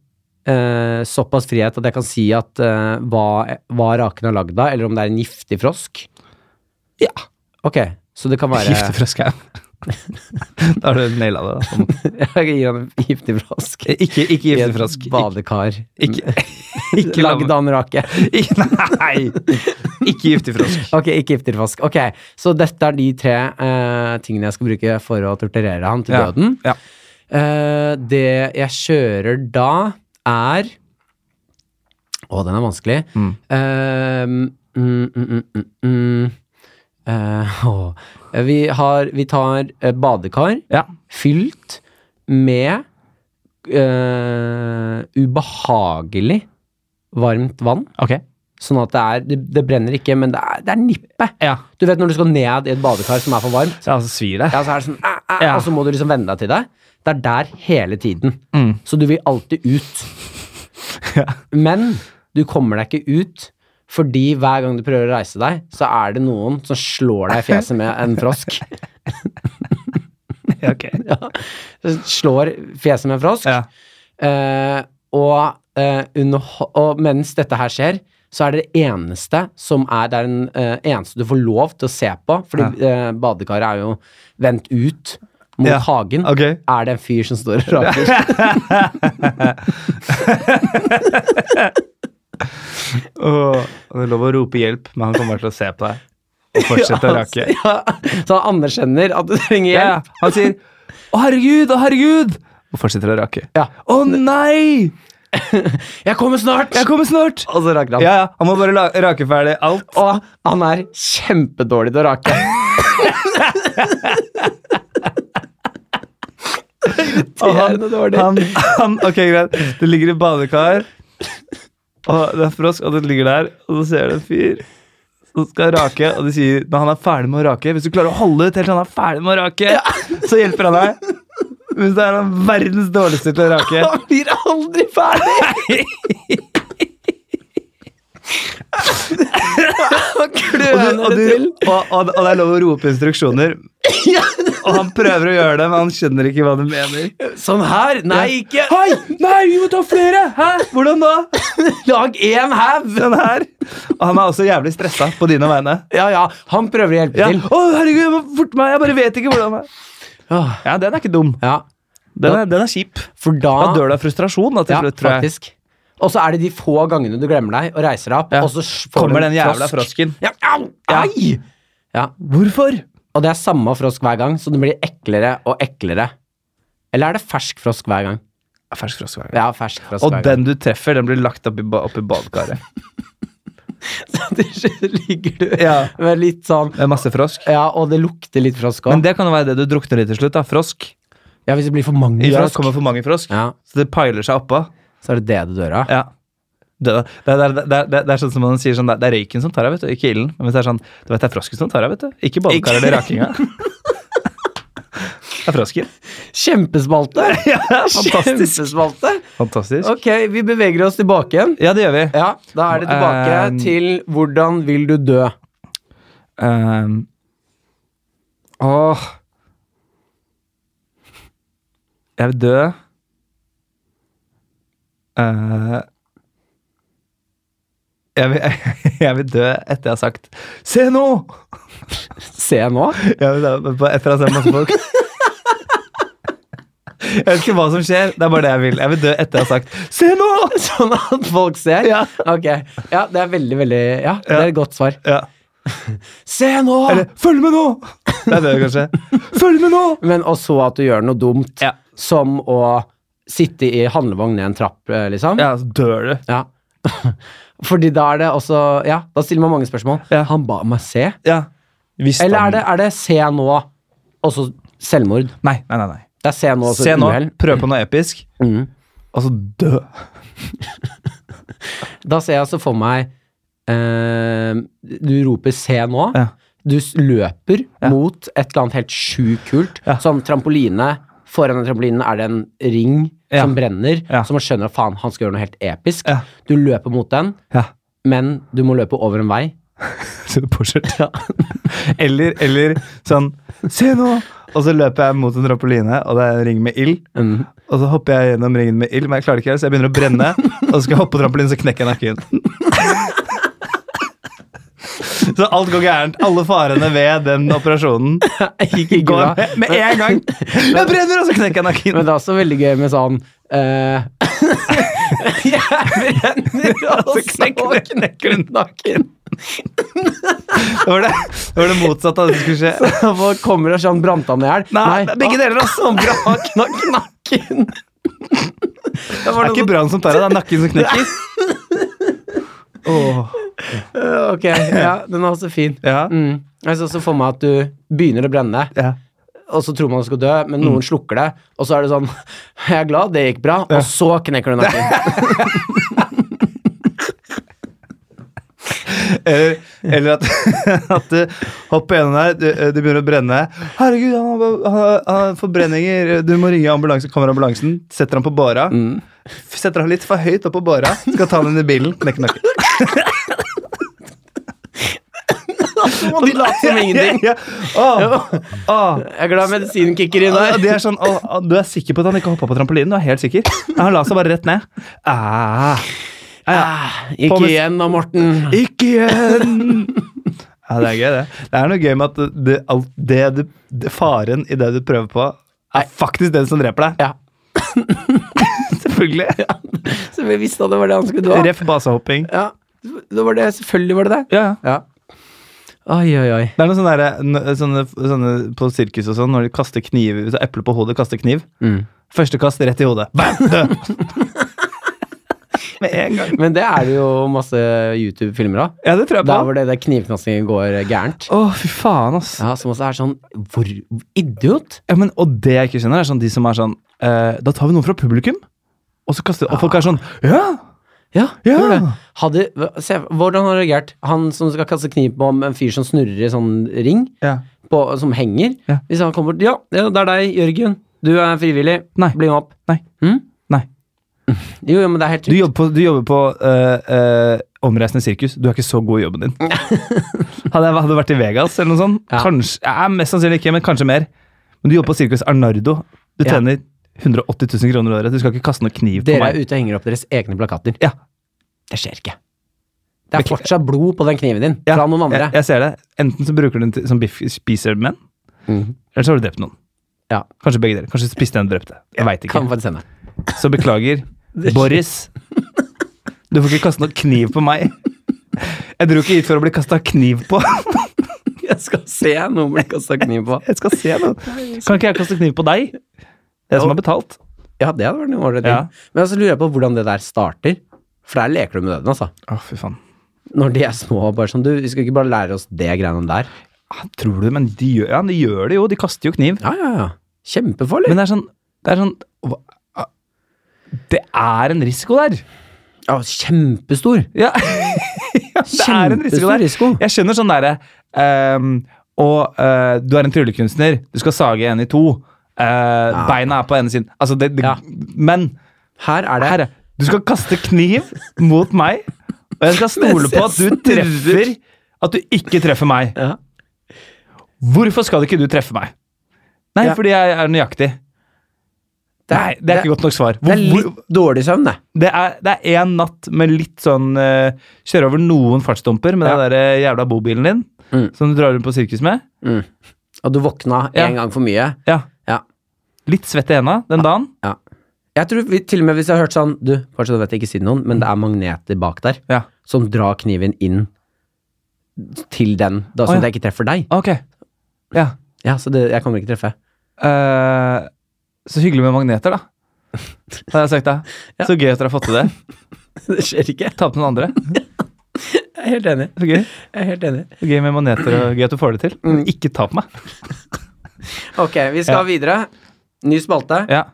Speaker 2: eh, såpass frihet at jeg kan si at eh, hva, hva raken er lagd av, eller om det er en giftig frosk?
Speaker 3: Ja.
Speaker 2: Ok, så det kan være
Speaker 3: Gifte frosk her. da har du naila det. da.
Speaker 2: Jeg gir han en giftig frosk.
Speaker 3: Eh, Ikke, ikke
Speaker 2: I
Speaker 3: gifte
Speaker 2: et
Speaker 3: frosk. Ikke,
Speaker 2: Badekar. Mm.
Speaker 3: ikke, ikke la
Speaker 2: lagd av en rake.
Speaker 3: Ikke- Nei! Ikke gifte frosk.
Speaker 2: Ok, ikke giftig frosk. Ok, så dette er de tre eh, tingene jeg skal bruke for å torturere han til
Speaker 3: Ja,
Speaker 2: døden.
Speaker 3: ja.
Speaker 2: Eh, det jeg kjører da, er Å, den er vanskelig.
Speaker 3: Mm.
Speaker 2: Eh, mm, mm, mm, mm, mm. Eh, å. Vi, har, vi tar eh, badekar
Speaker 3: Ja.
Speaker 2: fylt med eh, ubehagelig varmt vann.
Speaker 3: Ok.
Speaker 2: Sånn at det er Det, det brenner ikke, men det er, det er nippet.
Speaker 3: Ja.
Speaker 2: Du vet når du skal ned i et badekar som er for varmt,
Speaker 3: Så altså svir det.
Speaker 2: ja, så er det sånn, æ, æ,
Speaker 3: Ja.
Speaker 2: og så må du liksom venne deg til det. Det er der hele tiden.
Speaker 3: Mm.
Speaker 2: Så du vil alltid ut. Men du kommer deg ikke ut, fordi hver gang du prøver å reise deg, så er det noen som slår deg i fjeset med en frosk.
Speaker 3: Ja, ok.
Speaker 2: Slår fjeset med en frosk.
Speaker 3: Ja.
Speaker 2: Eh, og, eh, under, og mens dette her skjer, så er det det eneste som er Det er den eh, eneste du får lov til å se på, fordi eh, badekaret er jo vendt ut mot
Speaker 3: Ja,
Speaker 2: hagen.
Speaker 3: ok.
Speaker 2: Er det en fyr som står og raker?
Speaker 3: Åh, og det er lov å rope hjelp, men han kommer bare til å se på deg og fortsette å rake.
Speaker 2: ja, så han anerkjenner at du trenger
Speaker 3: Ja, ja.
Speaker 2: hjelp.
Speaker 3: Han sier 'Å, herregud, å, herregud!' og fortsetter å rake.
Speaker 2: Ja.
Speaker 3: 'Å nei!
Speaker 2: 'Jeg kommer snart!'
Speaker 3: Jeg kommer snart!'
Speaker 2: Og så raker han.
Speaker 3: Ja, ja. Han må bare la- rake ferdig alt.
Speaker 2: Og han er kjempedårlig til å rake.
Speaker 3: Og
Speaker 2: Irriterende dårlig.
Speaker 3: han, han, ok, greit. Det ligger et badekar, og det er frosk, og det ligger der, og så ser du en fyr som skal rake, og de sier når han er ferdig med å rake Hvis du klarer å holde ut helt til han er ferdig med å rake, så hjelper han deg. Men så er han verdens dårligste til å rake.
Speaker 2: Han blir aldri ferdig! Han
Speaker 3: Og, du,
Speaker 2: kløner
Speaker 3: og,
Speaker 2: det til.
Speaker 3: du, og, og, og det er lov å rope instruksjoner. Og han prøver å gjøre det, men han skjønner ikke hva du mener.
Speaker 2: Sånn her? Nei, ikke
Speaker 3: Hei! Nei, vi må ta flere! Hæ? Hvordan da?
Speaker 2: Lag én haug!
Speaker 3: Den her. Og han er også jævlig stressa på dine vegne.
Speaker 2: Ja, ja. Han prøver å hjelpe
Speaker 3: Ja.
Speaker 2: til.
Speaker 3: Å, herregud, jeg må forte meg! Jeg bare vet ikke hvordan det er.
Speaker 2: Åh,
Speaker 3: Ja, den er ikke dum.
Speaker 2: Ja,
Speaker 3: Den er, den er kjip.
Speaker 2: for da
Speaker 3: Da dør du av frustrasjon da, til
Speaker 2: Ja,
Speaker 3: slutt, tror jeg.
Speaker 2: faktisk. Og så er det de få gangene du glemmer deg og reiser deg opp,
Speaker 3: Ja.
Speaker 2: og så s- får
Speaker 3: Kommer
Speaker 2: du en
Speaker 3: den jævla
Speaker 2: frosk.
Speaker 3: frosken.
Speaker 2: Ja, au,
Speaker 3: Ja.
Speaker 2: ai!
Speaker 3: Hvorfor?
Speaker 2: Og det er samme frosk hver gang, så den blir eklere og eklere. Eller er det fersk frosk hver gang?
Speaker 3: Fersk frosk hver gang.
Speaker 2: Ja, fersk frosk
Speaker 3: Og
Speaker 2: hver gang.
Speaker 3: den du treffer, den blir lagt opp i, ba- opp i badekaret.
Speaker 2: Til slutt ligger du
Speaker 3: Ja.
Speaker 2: med litt sånn
Speaker 3: Det er masse frosk.
Speaker 2: Ja, og det lukter litt frosk
Speaker 3: Men
Speaker 2: òg.
Speaker 3: det kan jo være det du drukner i til slutt. da, Frosk.
Speaker 2: Ja, hvis det blir for mange
Speaker 3: I frosk
Speaker 2: frosk,
Speaker 3: kommer for mange frosk,
Speaker 2: ja,
Speaker 3: så det piler seg oppå.
Speaker 2: så er det det du dør av.
Speaker 3: Ja. Det, det, det, det, det, det er sånn som man sier sånn, det er røyken som tar deg, vet du, ikke ilden. Men hvis det er sånn, du vet det er frosken som tar deg, vet du. Ikke badekaret eller rakinga. Det er frosken.
Speaker 2: Kjempespalte!
Speaker 3: Ja, fantastisk.
Speaker 2: Kjempespalte!
Speaker 3: Fantastisk.
Speaker 2: Ok, vi beveger oss tilbake igjen.
Speaker 3: Ja, det gjør vi.
Speaker 2: Ja, da er det tilbake
Speaker 3: Um,
Speaker 2: til hvordan vil du dø?
Speaker 3: Um, åh. Jeg vil dø Eh, jeg, vil, jeg vil dø etter jeg har sagt 'se nå'!
Speaker 2: Se nå.
Speaker 3: Jeg vil dø på- etter jeg har sett masse folk. Jeg vet ikke hva som skjer, det er bare det jeg vil. Jeg vil dø etter jeg har sagt 'se nå'!
Speaker 2: Sånn at folk ser?
Speaker 3: Ja.
Speaker 2: Ok. Ja, det er veldig, veldig Ja, det
Speaker 3: Ja.
Speaker 2: er et godt svar.
Speaker 3: Ja.
Speaker 2: Se nå!
Speaker 3: Eller 'følg med nå'! Det er det, kanskje. 'Følg med nå'!
Speaker 2: Men også at du gjør noe dumt,
Speaker 3: Ja.
Speaker 2: som å sitte i handlevogn ned en trapp, eh, liksom.
Speaker 3: Ja, så dør du.
Speaker 2: Ja. Fordi da er det også Ja, da stiller man mange spørsmål.
Speaker 3: Ja.
Speaker 2: Han ba meg se.
Speaker 3: Ja. Hvis
Speaker 2: Eller
Speaker 3: han-
Speaker 2: er det, er det se nå, og så selvmord?
Speaker 3: Nei, nei, nei. nei.
Speaker 2: Det er se nå, og så
Speaker 3: Se nå,
Speaker 2: uhell.
Speaker 3: prøv på noe episk,
Speaker 2: Mm.
Speaker 3: og så dø.
Speaker 2: Da ser jeg altså for meg eh, Du roper 'se nå'.
Speaker 3: Ja.
Speaker 2: Du s- løper
Speaker 3: Ja.
Speaker 2: mot et eller annet helt sjukt kult.
Speaker 3: Ja.
Speaker 2: Sånn trampoline. Foran den trampolinen er det en ring
Speaker 3: Ja.
Speaker 2: som brenner,
Speaker 3: Ja.
Speaker 2: så man skjønner at faen, han skal gjøre noe helt episk.
Speaker 3: Ja.
Speaker 2: Du løper mot den,
Speaker 3: Ja.
Speaker 2: men du må løpe over en vei.
Speaker 3: Så du påkjørt. Eller, eller sånn Se nå! Og så løper jeg mot en trampoline, og det er en ring med ild.
Speaker 2: Mm.
Speaker 3: Og så hopper jeg gjennom ringen med ild, men jeg klarer ikke det, så jeg begynner å brenne. Og så skal jeg hoppe på trampolinen, så knekker jeg nakken. Så alt går gærent. Alle farene ved den operasjonen
Speaker 2: Ikke
Speaker 3: går
Speaker 2: gula.
Speaker 3: med, med en gang. Jeg brenner, og så knekker jeg nakken.
Speaker 2: Men det er også veldig gøy med sånn eh, Jeg brenner, og så
Speaker 3: altså. knekker du-
Speaker 2: knekker du nakken.
Speaker 3: Det var det, det, var det motsatte av det som skulle skje.
Speaker 2: Hva kommer og sånn brant han i hjel?
Speaker 3: Nei, begge deler, altså.
Speaker 2: Bra, knakk nakken. Det
Speaker 3: Det
Speaker 2: var
Speaker 3: er ikke
Speaker 2: noe
Speaker 3: brannen som tar deg, det er nakken som knekker.
Speaker 2: sånn
Speaker 3: Åh,
Speaker 2: Ok, ja, den er også fin.
Speaker 3: ja,
Speaker 2: Mm. Jeg så også for meg at du begynner å brenne,
Speaker 3: ja.
Speaker 2: og så tror man du skal dø, men
Speaker 3: Mm.
Speaker 2: noen slukker det, og så er det sånn Jeg er glad, det gikk bra, og så knekker du nakken.
Speaker 3: Eller, eller at, at eh, du hopper gjennom der, du, eh, du begynner å brenne. 'Herregud, han har- han har han har forbrenninger. Du må ringe ambulansen.' Kommer ambulansen, setter han på båra.
Speaker 2: Mm.
Speaker 3: Setter han litt for høyt opp på båra, skal ta han inn i bilen, knekker nakken.
Speaker 2: Så må de late som ingenting.
Speaker 3: Ja, Åh, åh.
Speaker 2: Jeg er glad medisinen kicker inn
Speaker 3: Ja, det
Speaker 2: der.
Speaker 3: er sånn, å, å, du er sikker på at han ikke hoppa på trampolinen? Du er helt sikker? Ja, han la seg bare rett ned. Ah,
Speaker 2: Ah, Ikke igjen da, Morten.
Speaker 3: ikke igjen! Ja, det er gøy, det. Det er noe gøy med at det, alt det du, det, faren i det du prøver på, er faktisk den som dreper deg.
Speaker 2: Ja.
Speaker 3: Selvfølgelig.
Speaker 2: Så vi visste at det var det han skulle dø av.
Speaker 3: Ref basehopping.
Speaker 2: Ja. Det var det, selvfølgelig var det det.
Speaker 3: Ja, ja.
Speaker 2: Ja. Oi, oi, oi.
Speaker 3: Det er noe sånn derre n- sånne, sånne på sirkus og sånn, når de kaster kniv, så eple på hodet, kaster kniv. Første kast rett i hodet. Bam! Død! Med en gang.
Speaker 2: Men det er det jo masse YouTube-filmer av.
Speaker 3: Ja, det tror jeg på.
Speaker 2: Der hvor det der knivknassingen går gærent.
Speaker 3: Å, fy faen, ass.
Speaker 2: Ja, Som også er sånn Hvor idiot?
Speaker 3: Ja, men, og det jeg ikke skjønner, er sånn de som er sånn eh, Da tar vi noen fra publikum, og så kaster Og folk er sånn Ja!
Speaker 2: Ja,
Speaker 3: Ja.
Speaker 2: gjør det. Hadde, hva- se, hvordan har han reagert? Han som skal kaste kniv på en fyr som snurrer i sånn ring,
Speaker 3: Ja,
Speaker 2: på, som henger.
Speaker 3: Ja.
Speaker 2: Hvis han kommer bort Ja, ja, det er deg, Jørgen. Du er frivillig.
Speaker 3: Nei.
Speaker 2: Bli med opp.
Speaker 3: Nei.
Speaker 2: Hm?
Speaker 3: Nei.
Speaker 2: Jo, jo, men det er helt
Speaker 3: Du
Speaker 2: trygt.
Speaker 3: jobber på, du jobber på øh, øh, omreisende sirkus. Du er ikke så god i jobben din. Hadde jeg hadde vært i Vegas eller noe sånt,
Speaker 2: Ja.
Speaker 3: kanskje, ja, mest sannsynlig ikke, men kanskje mer. Men du jobber på sirkus Arnardo. Du
Speaker 2: Ja.
Speaker 3: tjener 180 000 kroner i året. Du skal ikke kaste noe kniv på
Speaker 2: Dere er
Speaker 3: meg.
Speaker 2: ute og henger opp deres egne plakater.
Speaker 3: Ja.
Speaker 2: Det skjer ikke. Det er fortsatt blod på den kniven din
Speaker 3: Ja,
Speaker 2: fra noen andre.
Speaker 3: Jeg, jeg ser det. Enten så bruker du den til, som biff, spiser menn,
Speaker 2: Mhm.
Speaker 3: eller så har du drept noen.
Speaker 2: Ja.
Speaker 3: Kanskje begge dere. Kanskje spiste en og drepte. Jeg veit ikke.
Speaker 2: Kan faktisk hende.
Speaker 3: Så beklager, Boris. Du får ikke kaste noe kniv på meg. Jeg dro ikke hit for å bli kasta kniv på.
Speaker 2: Jeg skal se noen bli kasta kniv på.
Speaker 3: Jeg skal se noe. Kan ikke jeg kaste kniv på deg? Det er som har betalt.
Speaker 2: Ja, det hadde vært noe ålreit.
Speaker 3: Ja.
Speaker 2: Men så lurer jeg på hvordan det der starter. For der leker du med døden, altså.
Speaker 3: Å, fy faen.
Speaker 2: Når de er små og bare sånn Du, vi skal ikke bare lære oss det greiene der.
Speaker 3: Ah, Tror du, men de gjør, ja, de gjør det jo. De kaster jo kniv.
Speaker 2: Ja, ja, ja. Kjempefarlig.
Speaker 3: Men det er sånn Det er, sånn, hva- ah, det er en risiko der.
Speaker 2: Ja, kjempestor.
Speaker 3: Ja. det er en
Speaker 2: Kjempestor
Speaker 3: risiko der.
Speaker 2: risiko.
Speaker 3: Jeg skjønner sånn derre ehm, Og eh, du er en tryllekunstner. Du skal sage en i to. Eh, Beina er på ene siden. Altså, det, det,
Speaker 2: Ja.
Speaker 3: Men
Speaker 2: Her er det
Speaker 3: her, er- du skal kaste kniv mot meg, og jeg skal stole
Speaker 2: Mens jeg
Speaker 3: på at du treffer At du ikke treffer meg.
Speaker 2: Ja.
Speaker 3: Hvorfor skal ikke du treffe meg? Nei,
Speaker 2: Ja.
Speaker 3: fordi jeg er nøyaktig.
Speaker 2: Det
Speaker 3: Nei, det er ikke godt nok svar.
Speaker 2: Det
Speaker 3: Hvor,
Speaker 2: er litt dårlig søvn, det.
Speaker 3: det er, det er en natt med litt sånn eh, Kjøre over noen fartsdumper med
Speaker 2: Ja.
Speaker 3: den der eh, jævla bobilen din
Speaker 2: Mm.
Speaker 3: som du drar rundt på sirkus med.
Speaker 2: Og du våkna
Speaker 3: Ja.
Speaker 2: en gang for mye.
Speaker 3: Ja.
Speaker 2: Ja.
Speaker 3: Litt svett i henda den dagen.
Speaker 2: Ja. Jeg tror vi, til og med hvis jeg har hørt sånn Du, kanskje du vet jeg ikke sier noen, men det er magneter bak der
Speaker 3: Ja.
Speaker 2: som drar kniven inn til den, da,
Speaker 3: Å,
Speaker 2: så
Speaker 3: ja.
Speaker 2: det ikke treffer deg.
Speaker 3: Ok. Ja.
Speaker 2: Ja, så det, jeg kommer ikke treffe.
Speaker 3: Eh, så hyggelig med magneter, da. Har jeg sagt da. Så gøy at dere har fått til det.
Speaker 2: Det skjer ikke.
Speaker 3: Ta på noen andre.
Speaker 2: Jeg er helt enig.
Speaker 3: Så gøy.
Speaker 2: Jeg er helt enig.
Speaker 3: Så gøy med magneter, og gøy at du får det til. Men ikke ta på meg.
Speaker 2: Ok, vi skal
Speaker 3: Ja.
Speaker 2: videre. Ny spalte.
Speaker 3: Ja.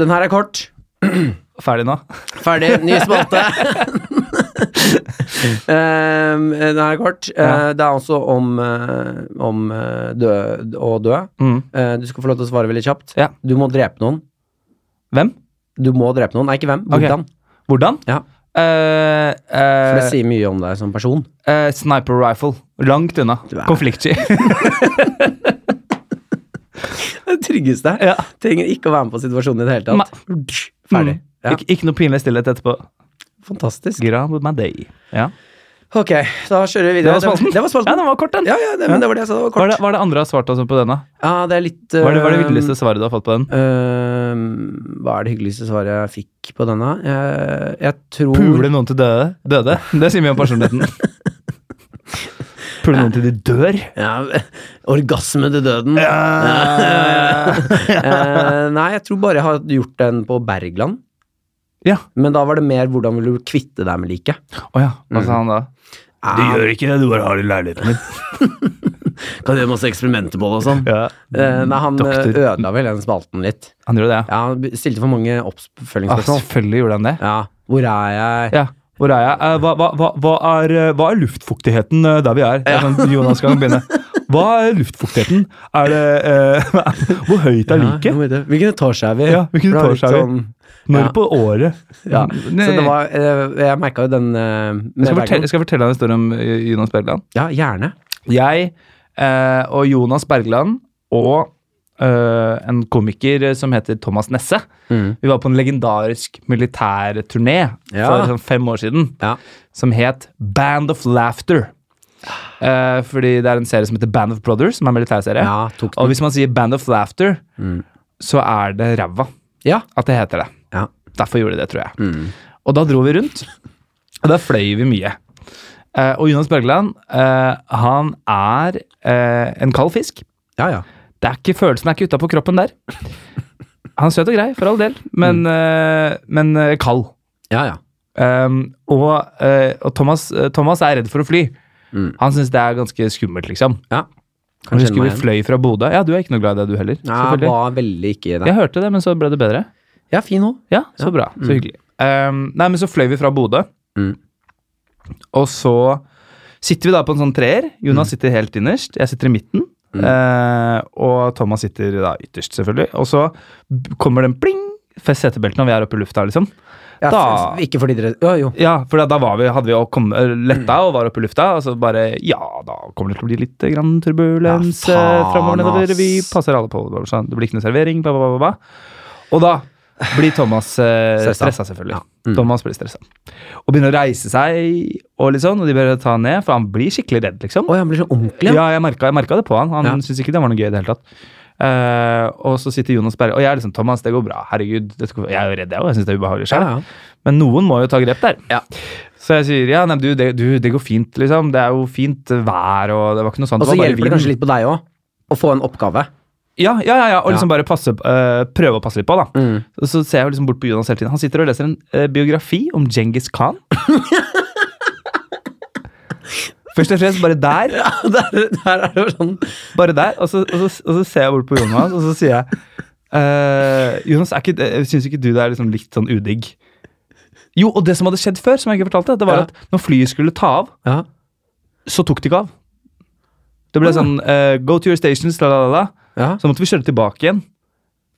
Speaker 2: Den her er kort.
Speaker 3: Ferdig nå.
Speaker 2: Ferdig. Ny spalte. um, den her er kort.
Speaker 3: Ja.
Speaker 2: Eh, det er også om, eh, om eh, dø, å dø.
Speaker 3: Mm.
Speaker 2: Eh, du skal få lov til å svare veldig kjapt.
Speaker 3: Ja.
Speaker 2: Du må drepe noen.
Speaker 3: Hvem?
Speaker 2: Du må drepe noen. Nei, ikke hvem.
Speaker 3: Ok.
Speaker 2: Hvordan.
Speaker 3: Hvordan?
Speaker 2: Ja.
Speaker 3: Eh, eh,
Speaker 2: For det sier mye om deg som person.
Speaker 3: Eh, sniper rifle. Langt unna.
Speaker 2: er-
Speaker 3: Konfliktsky.
Speaker 2: Det tryggeste.
Speaker 3: Ja.
Speaker 2: Trenger ikke å være med på situasjonen i det hele tatt. Ferdig.
Speaker 3: Mm.
Speaker 2: Ja,
Speaker 3: Ik ikke noe pinlig stillhet etterpå.
Speaker 2: fantastisk.
Speaker 3: Grab my day. Ja.
Speaker 2: Ok, da kjører vi videre.
Speaker 3: Det var spalten.
Speaker 2: Det var
Speaker 3: Altså- Ja,
Speaker 2: spalten.
Speaker 3: den var kort, den.
Speaker 2: Ja, ja, det, men det var det jeg sa. Det var
Speaker 3: Hva er
Speaker 2: kort.
Speaker 3: det, hva er det andre har svart altså på denne?
Speaker 2: Ja, det er litt
Speaker 3: Hva er det, hva er det
Speaker 2: eh,
Speaker 3: villeste svaret du har fått på den?
Speaker 2: Øhm, Ehm, hva er det hyggeligste svaret jeg fikk på denne? Jeg, jeg tror
Speaker 3: Pule noen til døde? Døde? Det sier mye om personligheten. Pule noen til de dør?
Speaker 2: ja, Orgasme til døden. Eh, nei, jeg tror bare jeg har gjort den på Bergland.
Speaker 3: Ja.
Speaker 2: Men da var det mer hvordan vil du kvitte deg med liket.
Speaker 3: Å ja. Hva sa han da?
Speaker 2: Du gjør
Speaker 3: ikke det, du bare har det i leiligheten din.
Speaker 2: Kan gjøre masse eksperimenter på det og sånn.
Speaker 3: Ja.
Speaker 2: nei, han eh,
Speaker 3: Doktor.
Speaker 2: ødela vel den spalten litt.
Speaker 3: Han gjorde det, ja.
Speaker 2: Ja, han stilte for mange
Speaker 3: Ah,
Speaker 2: oppfølgingsspørsmål.
Speaker 3: selvfølgelig gjorde han det.
Speaker 2: Ja, hvor er jeg?
Speaker 3: Ja, hvor er jeg? Eh, Hva, hva, hva, hva, er, eh, hva er luftfuktigheten eh, der vi er? Det er sånn Jonas kan begynne. Hva er luftfuktigheten? Er det eh, Hvor høyt er
Speaker 2: Ja,
Speaker 3: liket?
Speaker 2: jeg vet det. hvilken etasje er vi?
Speaker 3: Ja, hvilken
Speaker 2: For det var
Speaker 3: etasje
Speaker 2: litt
Speaker 3: er vi?
Speaker 2: sånn-
Speaker 3: Når
Speaker 2: ja.
Speaker 3: på året?
Speaker 2: Ja, så det
Speaker 3: Nei.
Speaker 2: var eh, Jeg merka jo den eh, med
Speaker 3: jeg skal fortelle,
Speaker 2: Bergland.
Speaker 3: jeg skal fortelle deg en historie om eh, Jonas Bergland.
Speaker 2: Ja, gjerne.
Speaker 3: Jeg eh, og Jonas Bergland og eh, en komiker som heter Thomas Nesse, vi var på en legendarisk militærturné
Speaker 2: Mm. Ja.
Speaker 3: for sånn fem år siden.
Speaker 2: Ja.
Speaker 3: som het Band of Laughter. Eh, fordi det er en serie som heter Band of Brothers, som er en militærserie.
Speaker 2: ja, tok
Speaker 3: Og
Speaker 2: den.
Speaker 3: hvis man sier Band of Laughter, så er det ræva
Speaker 2: Ja.
Speaker 3: at det heter det.
Speaker 2: ja.
Speaker 3: Derfor gjorde de det, tror jeg. Og da dro vi rundt, og da fløy vi mye. Eh, og Jonas Bergland, eh, han er eh, en kald fisk.
Speaker 2: Ja, ja.
Speaker 3: Det er ikke Følelsen er ikke utapå kroppen der. Han er søt og grei, for all del, men, eh, men eh, kald.
Speaker 2: ja, ja.
Speaker 3: Um, og eh, og Thomas, eh, Thomas er redd for å fly.
Speaker 2: Mm.
Speaker 3: Han syns det er ganske skummelt, liksom.
Speaker 2: ja.
Speaker 3: Jeg
Speaker 2: Kanskje
Speaker 3: husker vi fløy fra Bodø. Ja, du er ikke noe glad i det, du heller.
Speaker 2: Jeg
Speaker 3: selvfølgelig.
Speaker 2: var veldig ikke i det.
Speaker 3: Jeg hørte det, men så ble det bedre.
Speaker 2: Ja, fin òg.
Speaker 3: Ja, så bra. Så hyggelig. Um, nei, men så fløy vi fra Bodø.
Speaker 2: Mm.
Speaker 3: Og så sitter vi da på en sånn treer. Jonas sitter helt innerst, jeg sitter i midten. Eh, og Thomas sitter da ytterst, selvfølgelig. Og så b- kommer den pling! Fest setebeltene når vi er oppe i lufta, liksom.
Speaker 2: Ja,
Speaker 3: Da-
Speaker 2: f- Ikke fordi dere Jo, jo.
Speaker 3: Ja, for da- da var vi, hadde vi jo kom- eh, letta og var oppe i lufta, og så bare Ja, da kommer det til å bli litt eh, grann turbulens
Speaker 2: Ja,
Speaker 3: ja,
Speaker 2: faen,
Speaker 3: framover nedover.
Speaker 2: ass.
Speaker 3: Vi passer alle på. bla, bla, bla. Det blir ikke noe servering, bla, bla, bla, bla. Og da blir Thomas eh,
Speaker 2: Stressa. Mm.
Speaker 3: stressa, selvfølgelig. Thomas blir stressa. Og begynner å reise seg, og litt sånn, og de bør ta han ned, for han blir skikkelig redd, liksom.
Speaker 2: Oi, han blir så ordentlig.
Speaker 3: Ja, jeg merka, jeg merket det på han. Han
Speaker 2: Ja.
Speaker 3: syntes ikke det var noe gøy i det hele tatt. Eh, og så sitter Jonas Berre Og jeg er liksom Thomas, det går bra. Herregud. Dette går, jeg er jo redd, jeg òg. Jeg syns det er ubehagelig selv.
Speaker 2: Ja, ja.
Speaker 3: Men noen må jo ta grep der.
Speaker 2: Ja.
Speaker 3: Så jeg sier ja, nei, men du, det, du, det går fint, liksom. Det er jo fint vær, og det var ikke noe sånt.
Speaker 2: Og så
Speaker 3: var bare
Speaker 2: hjelper det
Speaker 3: vind.
Speaker 2: kanskje litt på deg òg, å få en oppgave.
Speaker 3: Ja, ja, ja, ja. Og
Speaker 2: Ja. Mm.
Speaker 3: liksom bare passe, eh, prøve å passe litt på, da. Så, så ser jeg jo liksom bort på Jonas hele tiden. Han sitter og leser en eh, biografi om Djengis Khan. Først og fremst bare der.
Speaker 2: Ja, der, der er det jo sånn
Speaker 3: Bare der, og så, og, så, og så ser jeg bort på Jonas, og så sier jeg «Eh, Jonas, er ikke, eh, syns ikke du det er liksom litt sånn udigg? Jo, og det som hadde skjedd før, som jeg ikke fortalte, det var
Speaker 2: Ja.
Speaker 3: at når flyet skulle ta av,
Speaker 2: Ja,
Speaker 3: så tok de ikke av. Det ble sånn eh, Go to your stations, la, la, la, la.
Speaker 2: ja.
Speaker 3: Så måtte vi kjøre tilbake igjen.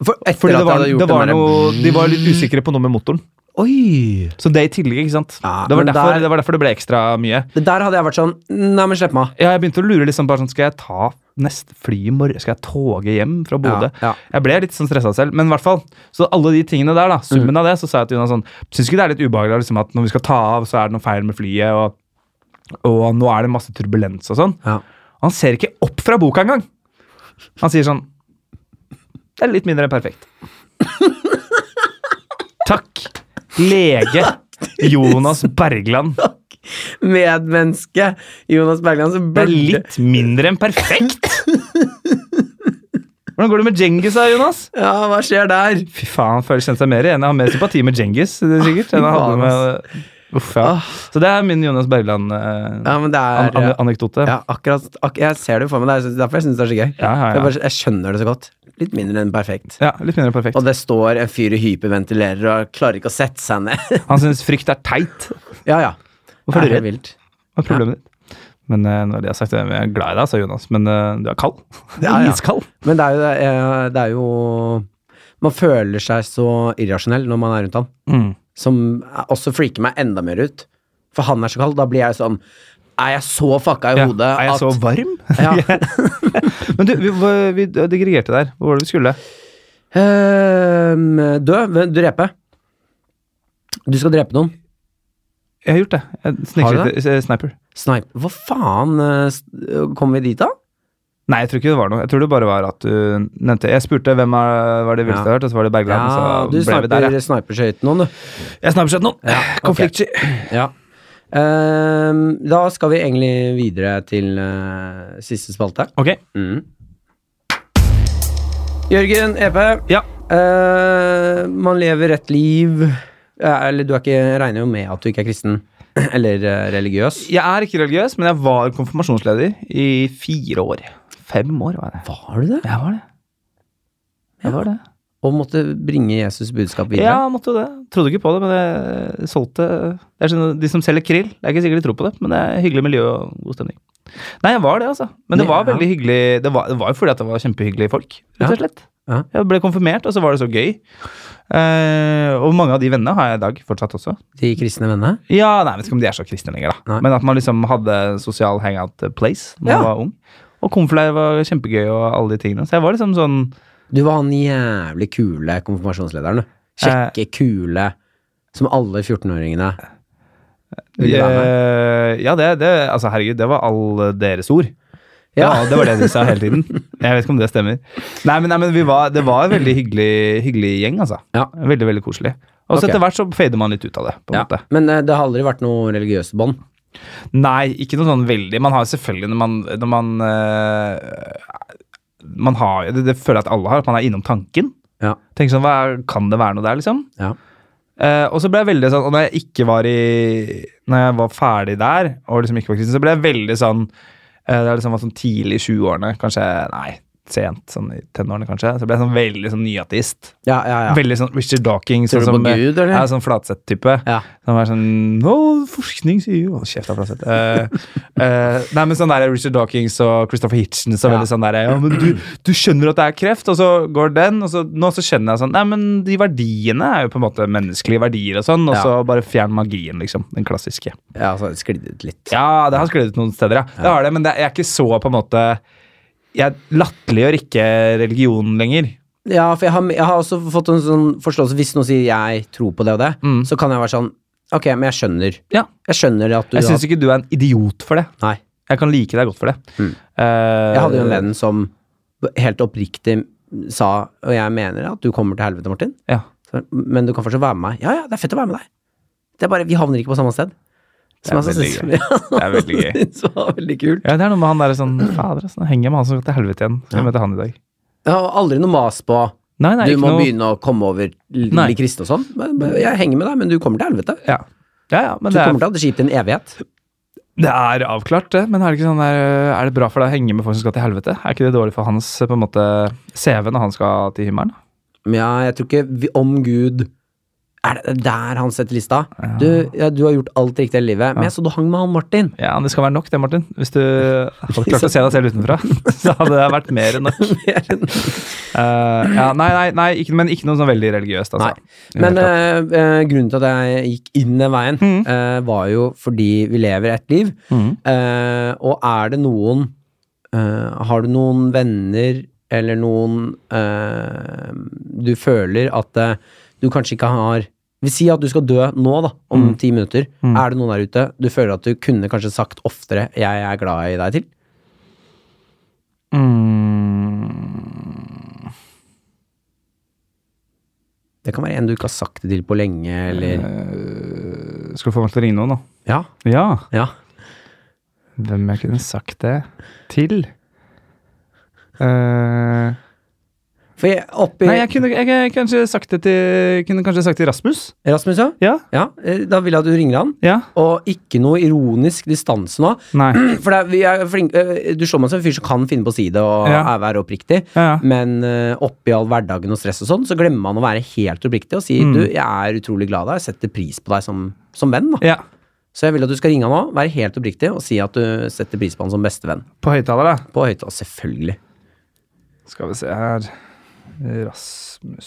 Speaker 2: For etter
Speaker 3: Fordi
Speaker 2: at
Speaker 3: det var,
Speaker 2: jeg hadde gjort
Speaker 3: det var
Speaker 2: den
Speaker 3: noe,
Speaker 2: derre-
Speaker 3: de var litt usikre på noe med motoren.
Speaker 2: Oi!
Speaker 3: Så det i tillegg, ikke sant.
Speaker 2: Ja,
Speaker 3: det, var
Speaker 2: men
Speaker 3: derfor,
Speaker 2: der-
Speaker 3: det var derfor det ble ekstra mye.
Speaker 2: Det der hadde jeg vært sånn Nei, men slipp meg.
Speaker 3: Ja, jeg begynte å lure liksom bare sånn, skal jeg ta neste fly i morgen? Skal jeg toge hjem fra Bodø?
Speaker 2: Ja, ja.
Speaker 3: Jeg ble litt sånn stressa selv, men i hvert fall. Så alle de tingene der, da,
Speaker 2: Mm.
Speaker 3: summen av det, så sa jeg til Jonas sånn Syns ikke det er litt ubehagelig liksom, at når vi skal ta av, så er det noe feil med flyet, og, og nå er det masse turbulens og sånn.
Speaker 2: Ja.
Speaker 3: Han ser ikke opp fra boka engang! Han sier sånn Det er litt mindre enn perfekt. Takk, lege Jonas Bergland.
Speaker 2: Medmenneske Jonas Bergland, så
Speaker 3: Det er
Speaker 2: burde-
Speaker 3: litt mindre enn perfekt! Hvordan går det med Djengis da, Jonas?
Speaker 2: Ja, hva skjer der?
Speaker 3: Fy faen, føler kjente seg mer igjen. Jeg har mer sympati med Djengis, det er sikkert. enn jeg hadde med... Uff, ja. Så det er min Jonas Bergland-anekdote.
Speaker 2: Ah. Ja, men det er
Speaker 3: anekdote.
Speaker 2: ja, akkurat, ak jeg ser det for meg, det er derfor jeg syns det er så gøy.
Speaker 3: Ja, ja, ja.
Speaker 2: Jeg, bare, jeg skjønner det så godt. Litt mindre enn perfekt.
Speaker 3: ja, litt mindre enn perfekt.
Speaker 2: Og det står en fyr og hyperventilerer og klarer ikke å sette seg ned.
Speaker 3: Han syns frykt er teit.
Speaker 2: ja, ja.
Speaker 3: Hvorfor er du
Speaker 2: det
Speaker 3: redd?
Speaker 2: vilt?
Speaker 3: Hva er problemet ditt? Men eh, når det er sagt, jeg er glad i deg, sa Jonas, men eh, du er kald.
Speaker 2: Ja, ja.
Speaker 3: Iskald.
Speaker 2: Men det er, jo, eh, det er jo Man føler seg så irrasjonell når man er rundt han,
Speaker 3: Mm.
Speaker 2: som også freaker meg enda mer ut. For han er så kald. Da blir jeg sånn Er jeg så fucka i
Speaker 3: Ja.
Speaker 2: hodet
Speaker 3: Er jeg så varm?
Speaker 2: Ja.
Speaker 3: Men du, vi, vi digregerte der. Hvor var det vi skulle?
Speaker 2: Ehm, Død, men drepe. Du skal drepe noen.
Speaker 3: Jeg har gjort det. Jeg
Speaker 2: Har du
Speaker 3: Snikskyter. eh, Sniper.
Speaker 2: Snipe. Hva faen eh, s- kom vi dit, da?
Speaker 3: Nei, jeg tror ikke det var noe. Jeg tror det bare var at du nevnte Jeg spurte hvem er, var det villeste jeg har hørt, og så var det Bergland.
Speaker 2: Ja,
Speaker 3: og
Speaker 2: du
Speaker 3: så ble vi der,
Speaker 2: sniper,
Speaker 3: ja.
Speaker 2: sniperskøyter noen, du.
Speaker 3: Jeg snapchat noen. Konfliktsky.
Speaker 2: Ja. Ehm, da skal vi egentlig videre til eh, siste spalte.
Speaker 3: Ok.
Speaker 2: Jørgen Epe,
Speaker 3: Ja.
Speaker 2: eh, man lever et liv eh, Eller du er ikke, jeg regner jo med at du ikke er kristen eller eh, religiøs.
Speaker 3: Jeg er ikke religiøs, men jeg var konfirmasjonsleder i fire år. Fem år var jeg.
Speaker 2: Var du det?
Speaker 3: Jeg var det. Jeg var det.
Speaker 2: Og måtte bringe Jesus budskap
Speaker 3: Ja,
Speaker 2: videre?
Speaker 3: jeg måtte jo det. Trodde ikke på det, men jeg solgte Det er sånn, De som selger krill, det er ikke sikkert de tror på det, men det er hyggelig miljø og god stemning. Nei, jeg var det, altså. Men det var
Speaker 2: Ja.
Speaker 3: veldig hyggelig Det var, det var jo fordi at det var kjempehyggelige folk,
Speaker 2: Ja.
Speaker 3: rett og slett.
Speaker 2: Ja.
Speaker 3: Jeg ble konfirmert, og så var det så gøy. Eh, og mange av de vennene har jeg i dag fortsatt også.
Speaker 2: De kristne vennene?
Speaker 3: Ja, nei, jeg vet ikke om de er så kristne lenger, da.
Speaker 2: Nei.
Speaker 3: Men at man liksom hadde sosial hangout place da
Speaker 2: Ja.
Speaker 3: man var ung. Og konfirmasjon var kjempegøy, og alle de tingene. Så jeg var liksom sånn
Speaker 2: Du var han jævlig kule konfirmasjonslederen, du.
Speaker 3: Eh.
Speaker 2: Kjekke, kule, som alle 14-åringene. Vil du være med?
Speaker 3: Eh, Ja, det, det Altså, herregud, det var alle deres ord. Ja.
Speaker 2: Ja.
Speaker 3: det var det de sa hele tiden. Jeg vet ikke om det stemmer. Nei, men, nei, men vi var, det var en veldig hyggelig, hyggelig gjeng, altså.
Speaker 2: Ja.
Speaker 3: Veldig, veldig koselig. Og så
Speaker 2: Ok.
Speaker 3: etter hvert så fader man litt ut av det, på en
Speaker 2: Ja.
Speaker 3: måte.
Speaker 2: Men eh, det har aldri vært noe religiøse bånd.
Speaker 3: Nei, ikke noe sånn veldig. Man har selvfølgelig når man, når man, eh, man har, det, det føler jeg at alle har, at man er innom tanken.
Speaker 2: Ja.
Speaker 3: Tenk sånn, hva er, Kan det være noe der, liksom?
Speaker 2: Ja.
Speaker 3: Eh, og så ble jeg veldig sånn, og når jeg ikke var i Når jeg var ferdig der, og liksom ikke var kristen, så ble jeg veldig sånn eh, Det er liksom var sånn tidlig i 20-årene, kanskje Nei, sent, sånn i tenårene kanskje. Så ble jeg sånn veldig sånn nyateist.
Speaker 2: Ja, ja, ja.
Speaker 3: Veldig sånn Richard Dawkins.
Speaker 2: Tror
Speaker 3: Sånn
Speaker 2: du
Speaker 3: som,
Speaker 2: på Gud, eller?
Speaker 3: Ja, sånn Flatseth-type.
Speaker 2: Ja.
Speaker 3: Som er sånn Å, forskning sier jo Hold kjeft da, Flatseth. Eh, eh, nei, men sånn der Richard Dawkins og Christopher Hitchens og
Speaker 2: Ja.
Speaker 3: veldig sånn der Ja, men du, du skjønner at det er kreft, og så går den, og så nå så skjønner jeg sånn Nei, men de verdiene er jo på en måte menneskelige verdier og sånn, og
Speaker 2: Ja.
Speaker 3: så bare fjern magien, liksom. Den klassiske.
Speaker 2: ja så sklidde ut altså litt.
Speaker 3: Ja, det har sklidd ut noen steder, ja. Det har det, men det, jeg er ikke så på en måte Jeg latterliggjør ikke religionen lenger.
Speaker 2: Ja, for jeg har, jeg har også fått en sånn forståelse Hvis noen sier 'jeg tror på det og det',
Speaker 3: Mm.
Speaker 2: så kan jeg være sånn Ok, men jeg skjønner.
Speaker 3: Ja.
Speaker 2: Jeg skjønner at du
Speaker 3: Jeg syns
Speaker 2: har-
Speaker 3: ikke du er en idiot for det.
Speaker 2: Nei.
Speaker 3: Jeg kan like deg godt for det.
Speaker 2: Mm.
Speaker 3: Eh,
Speaker 2: Jeg hadde jo en venn som helt oppriktig sa, og jeg mener at du kommer til helvete, Martin,
Speaker 3: Ja.
Speaker 2: Så, men du kan fortsatt være med meg. Ja, ja, det er fett å være med deg. Det er bare, Vi havner ikke på samme sted.
Speaker 3: Det er
Speaker 2: jeg
Speaker 3: veldig
Speaker 2: synes-
Speaker 3: gøy. Det er veldig gøy.
Speaker 2: synes var veldig kult.
Speaker 3: Ja, det er noe med han der sånn Fader, altså, nå henger jeg med han som går til helvete igjen. Skal jeg møte han i dag?
Speaker 2: Jeg har aldri noe mas på
Speaker 3: Nei, nei,
Speaker 2: du
Speaker 3: ikke
Speaker 2: må
Speaker 3: noe
Speaker 2: begynne å komme over, l-
Speaker 3: Nei.
Speaker 2: bli kristen og sånn. Men- men Jeg henger med deg, men du kommer til helvete.
Speaker 3: Ja, ja, ja men
Speaker 2: Du
Speaker 3: det
Speaker 2: kommer
Speaker 3: er,
Speaker 2: til å ha det kjipt i en evighet. det
Speaker 3: det er avklart, det. Men er det ikke sånn der øh, Er det bra for deg å henge med folk som skal til helvete? Er ikke det dårlig for hans eh, på en måte CV når han skal til himmelen?
Speaker 2: Men ja, jeg tror ikke vi, om Gud Er det der han setter lista? Du, ja, du har gjort alt riktig i livet, men jeg så du hang med han Martin.
Speaker 3: Ja, det skal være nok det, Martin. Hvis du hadde klart å se deg selv utenfra, så hadde det vært mer enn nok. Eh, ja, nei, nei, nei ikke, men ikke noe sånn veldig religiøst, altså. I det
Speaker 2: Men
Speaker 3: hele tatt.
Speaker 2: eh, eh, grunnen til at jeg gikk inn den veien,
Speaker 3: Mm.
Speaker 2: eh, var jo fordi vi lever et liv. Eh, og er det noen eh, Har du noen venner eller noen eh, du føler at eh, du kanskje ikke har Vi sier at du skal dø nå, da, om
Speaker 3: Mm.
Speaker 2: ti minutter. Er det noen der ute du føler at du kunne kanskje sagt oftere 'jeg er glad i deg' til?
Speaker 3: Mm.
Speaker 2: Det kan være en du ikke har sagt det til på lenge, eller
Speaker 3: Eh. Skal du få meg til å ringe noen, da?
Speaker 2: Ja.
Speaker 3: Eh, Ja.
Speaker 2: ja.
Speaker 3: Hvem jeg kunne sagt det til? Eh,
Speaker 2: For jeg, oppi
Speaker 3: nei, jeg kunne, jeg, jeg, kanskje sagt det til, kunne kanskje sagt til Rasmus.
Speaker 2: Rasmus, ja?
Speaker 3: Ja.
Speaker 2: ja? eh, Da vil jeg at du ringer han.
Speaker 3: ja.
Speaker 2: Og ikke noe ironisk distanse nå.
Speaker 3: Nei.
Speaker 2: For det er, vi er flink, øh, Du slår meg som en fyr som kan finne på å si det og
Speaker 3: Ja.
Speaker 2: er være oppriktig,
Speaker 3: Ja, ja.
Speaker 2: men øh, oppi all hverdagen og stress og sånn, så glemmer man å være helt oppriktig og si
Speaker 3: Mm.
Speaker 2: du, jeg er utrolig glad i deg, jeg setter pris på deg som, som venn. da.
Speaker 3: ja.
Speaker 2: Så jeg vil at du skal ringe han nå, være helt oppriktig og si at du setter pris på han som bestevenn.
Speaker 3: På høyttaler, da.
Speaker 2: På høyttaler, selvfølgelig.
Speaker 3: Skal vi se her Rasmus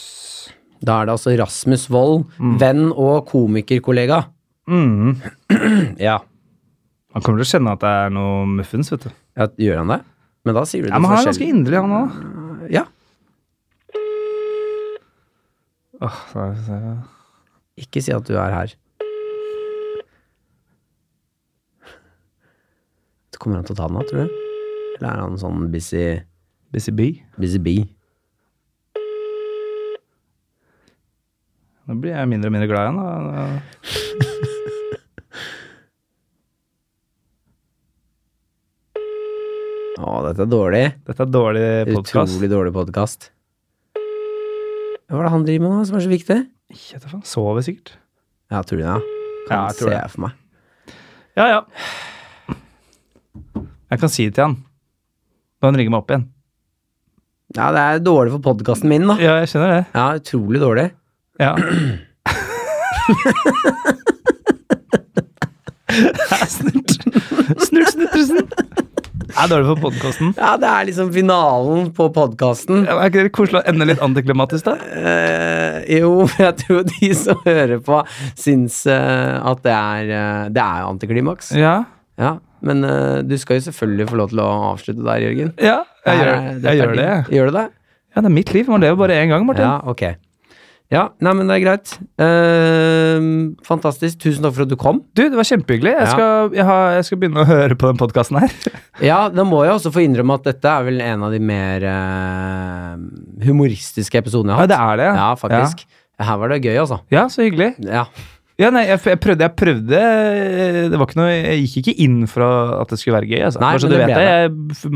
Speaker 2: Da er det altså Rasmus Wold, venn og komikerkollega.
Speaker 3: mm.
Speaker 2: Ja.
Speaker 3: Han kommer til å kjenne at det er noe muffins, vet du.
Speaker 2: ja, gjør han det? Men da sier du det
Speaker 3: Ja, Men han er ganske
Speaker 2: forskjellig.
Speaker 3: inderlig, han òg.
Speaker 2: Ja.
Speaker 3: Åh, skal vi se.
Speaker 2: Ikke si at du er her. Så Kommer han til å ta den nå, tror du? Eller er han sånn busy,
Speaker 3: Busy bee.
Speaker 2: busy bee?
Speaker 3: Nå blir jeg mindre og mindre glad igjen. Da.
Speaker 2: Å, dette er dårlig.
Speaker 3: Dette er dårlig podkast.
Speaker 2: Utrolig dårlig podkast. Hva er det han driver med nå, som er så viktig?
Speaker 3: Sover sikkert.
Speaker 2: Ja, tror du det? Ja. Kan
Speaker 3: Ja, jeg tror
Speaker 2: se
Speaker 3: det.
Speaker 2: for meg.
Speaker 3: Ja, ja. Jeg kan si det til han. Når han ringer meg opp igjen.
Speaker 2: Ja, det er dårlig for podkasten min, da.
Speaker 3: Ja, jeg skjønner det.
Speaker 2: Ja, utrolig dårlig.
Speaker 3: Ja. det er snurt. Snurt Snuttersen. Det er dårlig for podkasten.
Speaker 2: Ja, det er liksom finalen på podkasten.
Speaker 3: Er ikke det koselig å ende litt antiklimatisk, da?
Speaker 2: Eh, jo, jeg tror de som hører på, syns eh, at det er eh, Det er jo antiklimaks. Ja.
Speaker 3: Ja.
Speaker 2: men eh, du skal jo selvfølgelig få lov til å avslutte der, Jørgen.
Speaker 3: Ja, jeg
Speaker 2: Her
Speaker 3: gjør,
Speaker 2: er- dette
Speaker 3: jeg
Speaker 2: er
Speaker 3: gjør det.
Speaker 2: din. Gjør du det?
Speaker 3: Ja, det er mitt liv. Man lever bare én gang, Martin.
Speaker 2: Ja, ok. Ja, nei, men det er greit. Ehm, fantastisk. Tusen takk for at du kom.
Speaker 3: Du, det var kjempehyggelig. Jeg
Speaker 2: Ja.
Speaker 3: skal, jeg, har, jeg skal begynne å høre på den podkasten her.
Speaker 2: Ja, da må jeg også få innrømme at dette er vel en av de mer eh, humoristiske episodene jeg
Speaker 3: Ja,
Speaker 2: har hatt.
Speaker 3: det er det.
Speaker 2: Ja, faktisk. Her var det gøy, altså.
Speaker 3: Ja, så hyggelig.
Speaker 2: Ja.
Speaker 3: Ja, nei, jeg, jeg prøvde, jeg prøvde eh, Det var ikke noe Jeg gikk ikke inn for at det skulle være gøy. Altså.
Speaker 2: Nei,
Speaker 3: Bare så
Speaker 2: men
Speaker 3: du
Speaker 2: det
Speaker 3: vet
Speaker 2: ble
Speaker 3: det. Jeg,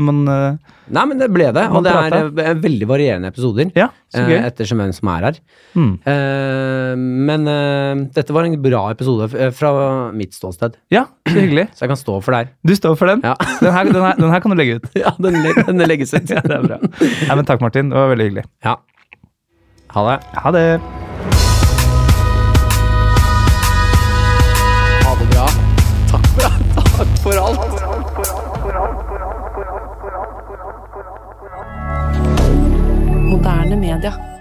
Speaker 3: men, eh,
Speaker 2: Nei, men det ble det. Og
Speaker 3: Man
Speaker 2: det er eh, veldig varierende episoder.
Speaker 3: ja, så
Speaker 2: eh,
Speaker 3: gøy.
Speaker 2: Ettersom hvem som er her.
Speaker 3: Mm.
Speaker 2: Eh, men eh, dette var en bra episode eh, fra mitt ståsted,
Speaker 3: Ja, så hyggelig.
Speaker 2: så jeg kan stå for deg.
Speaker 3: Du står for den.
Speaker 2: Ja.
Speaker 3: Den, her, den, her, den her kan du legge ut.
Speaker 2: Ja, den, legges ut. ja, det er bra.
Speaker 3: Nei, men Takk, Martin. Det var veldig hyggelig.
Speaker 2: Ja. Ha det.
Speaker 3: Ha det.
Speaker 1: Ha det bra. Takk for, takk for alt.
Speaker 5: Moderne media.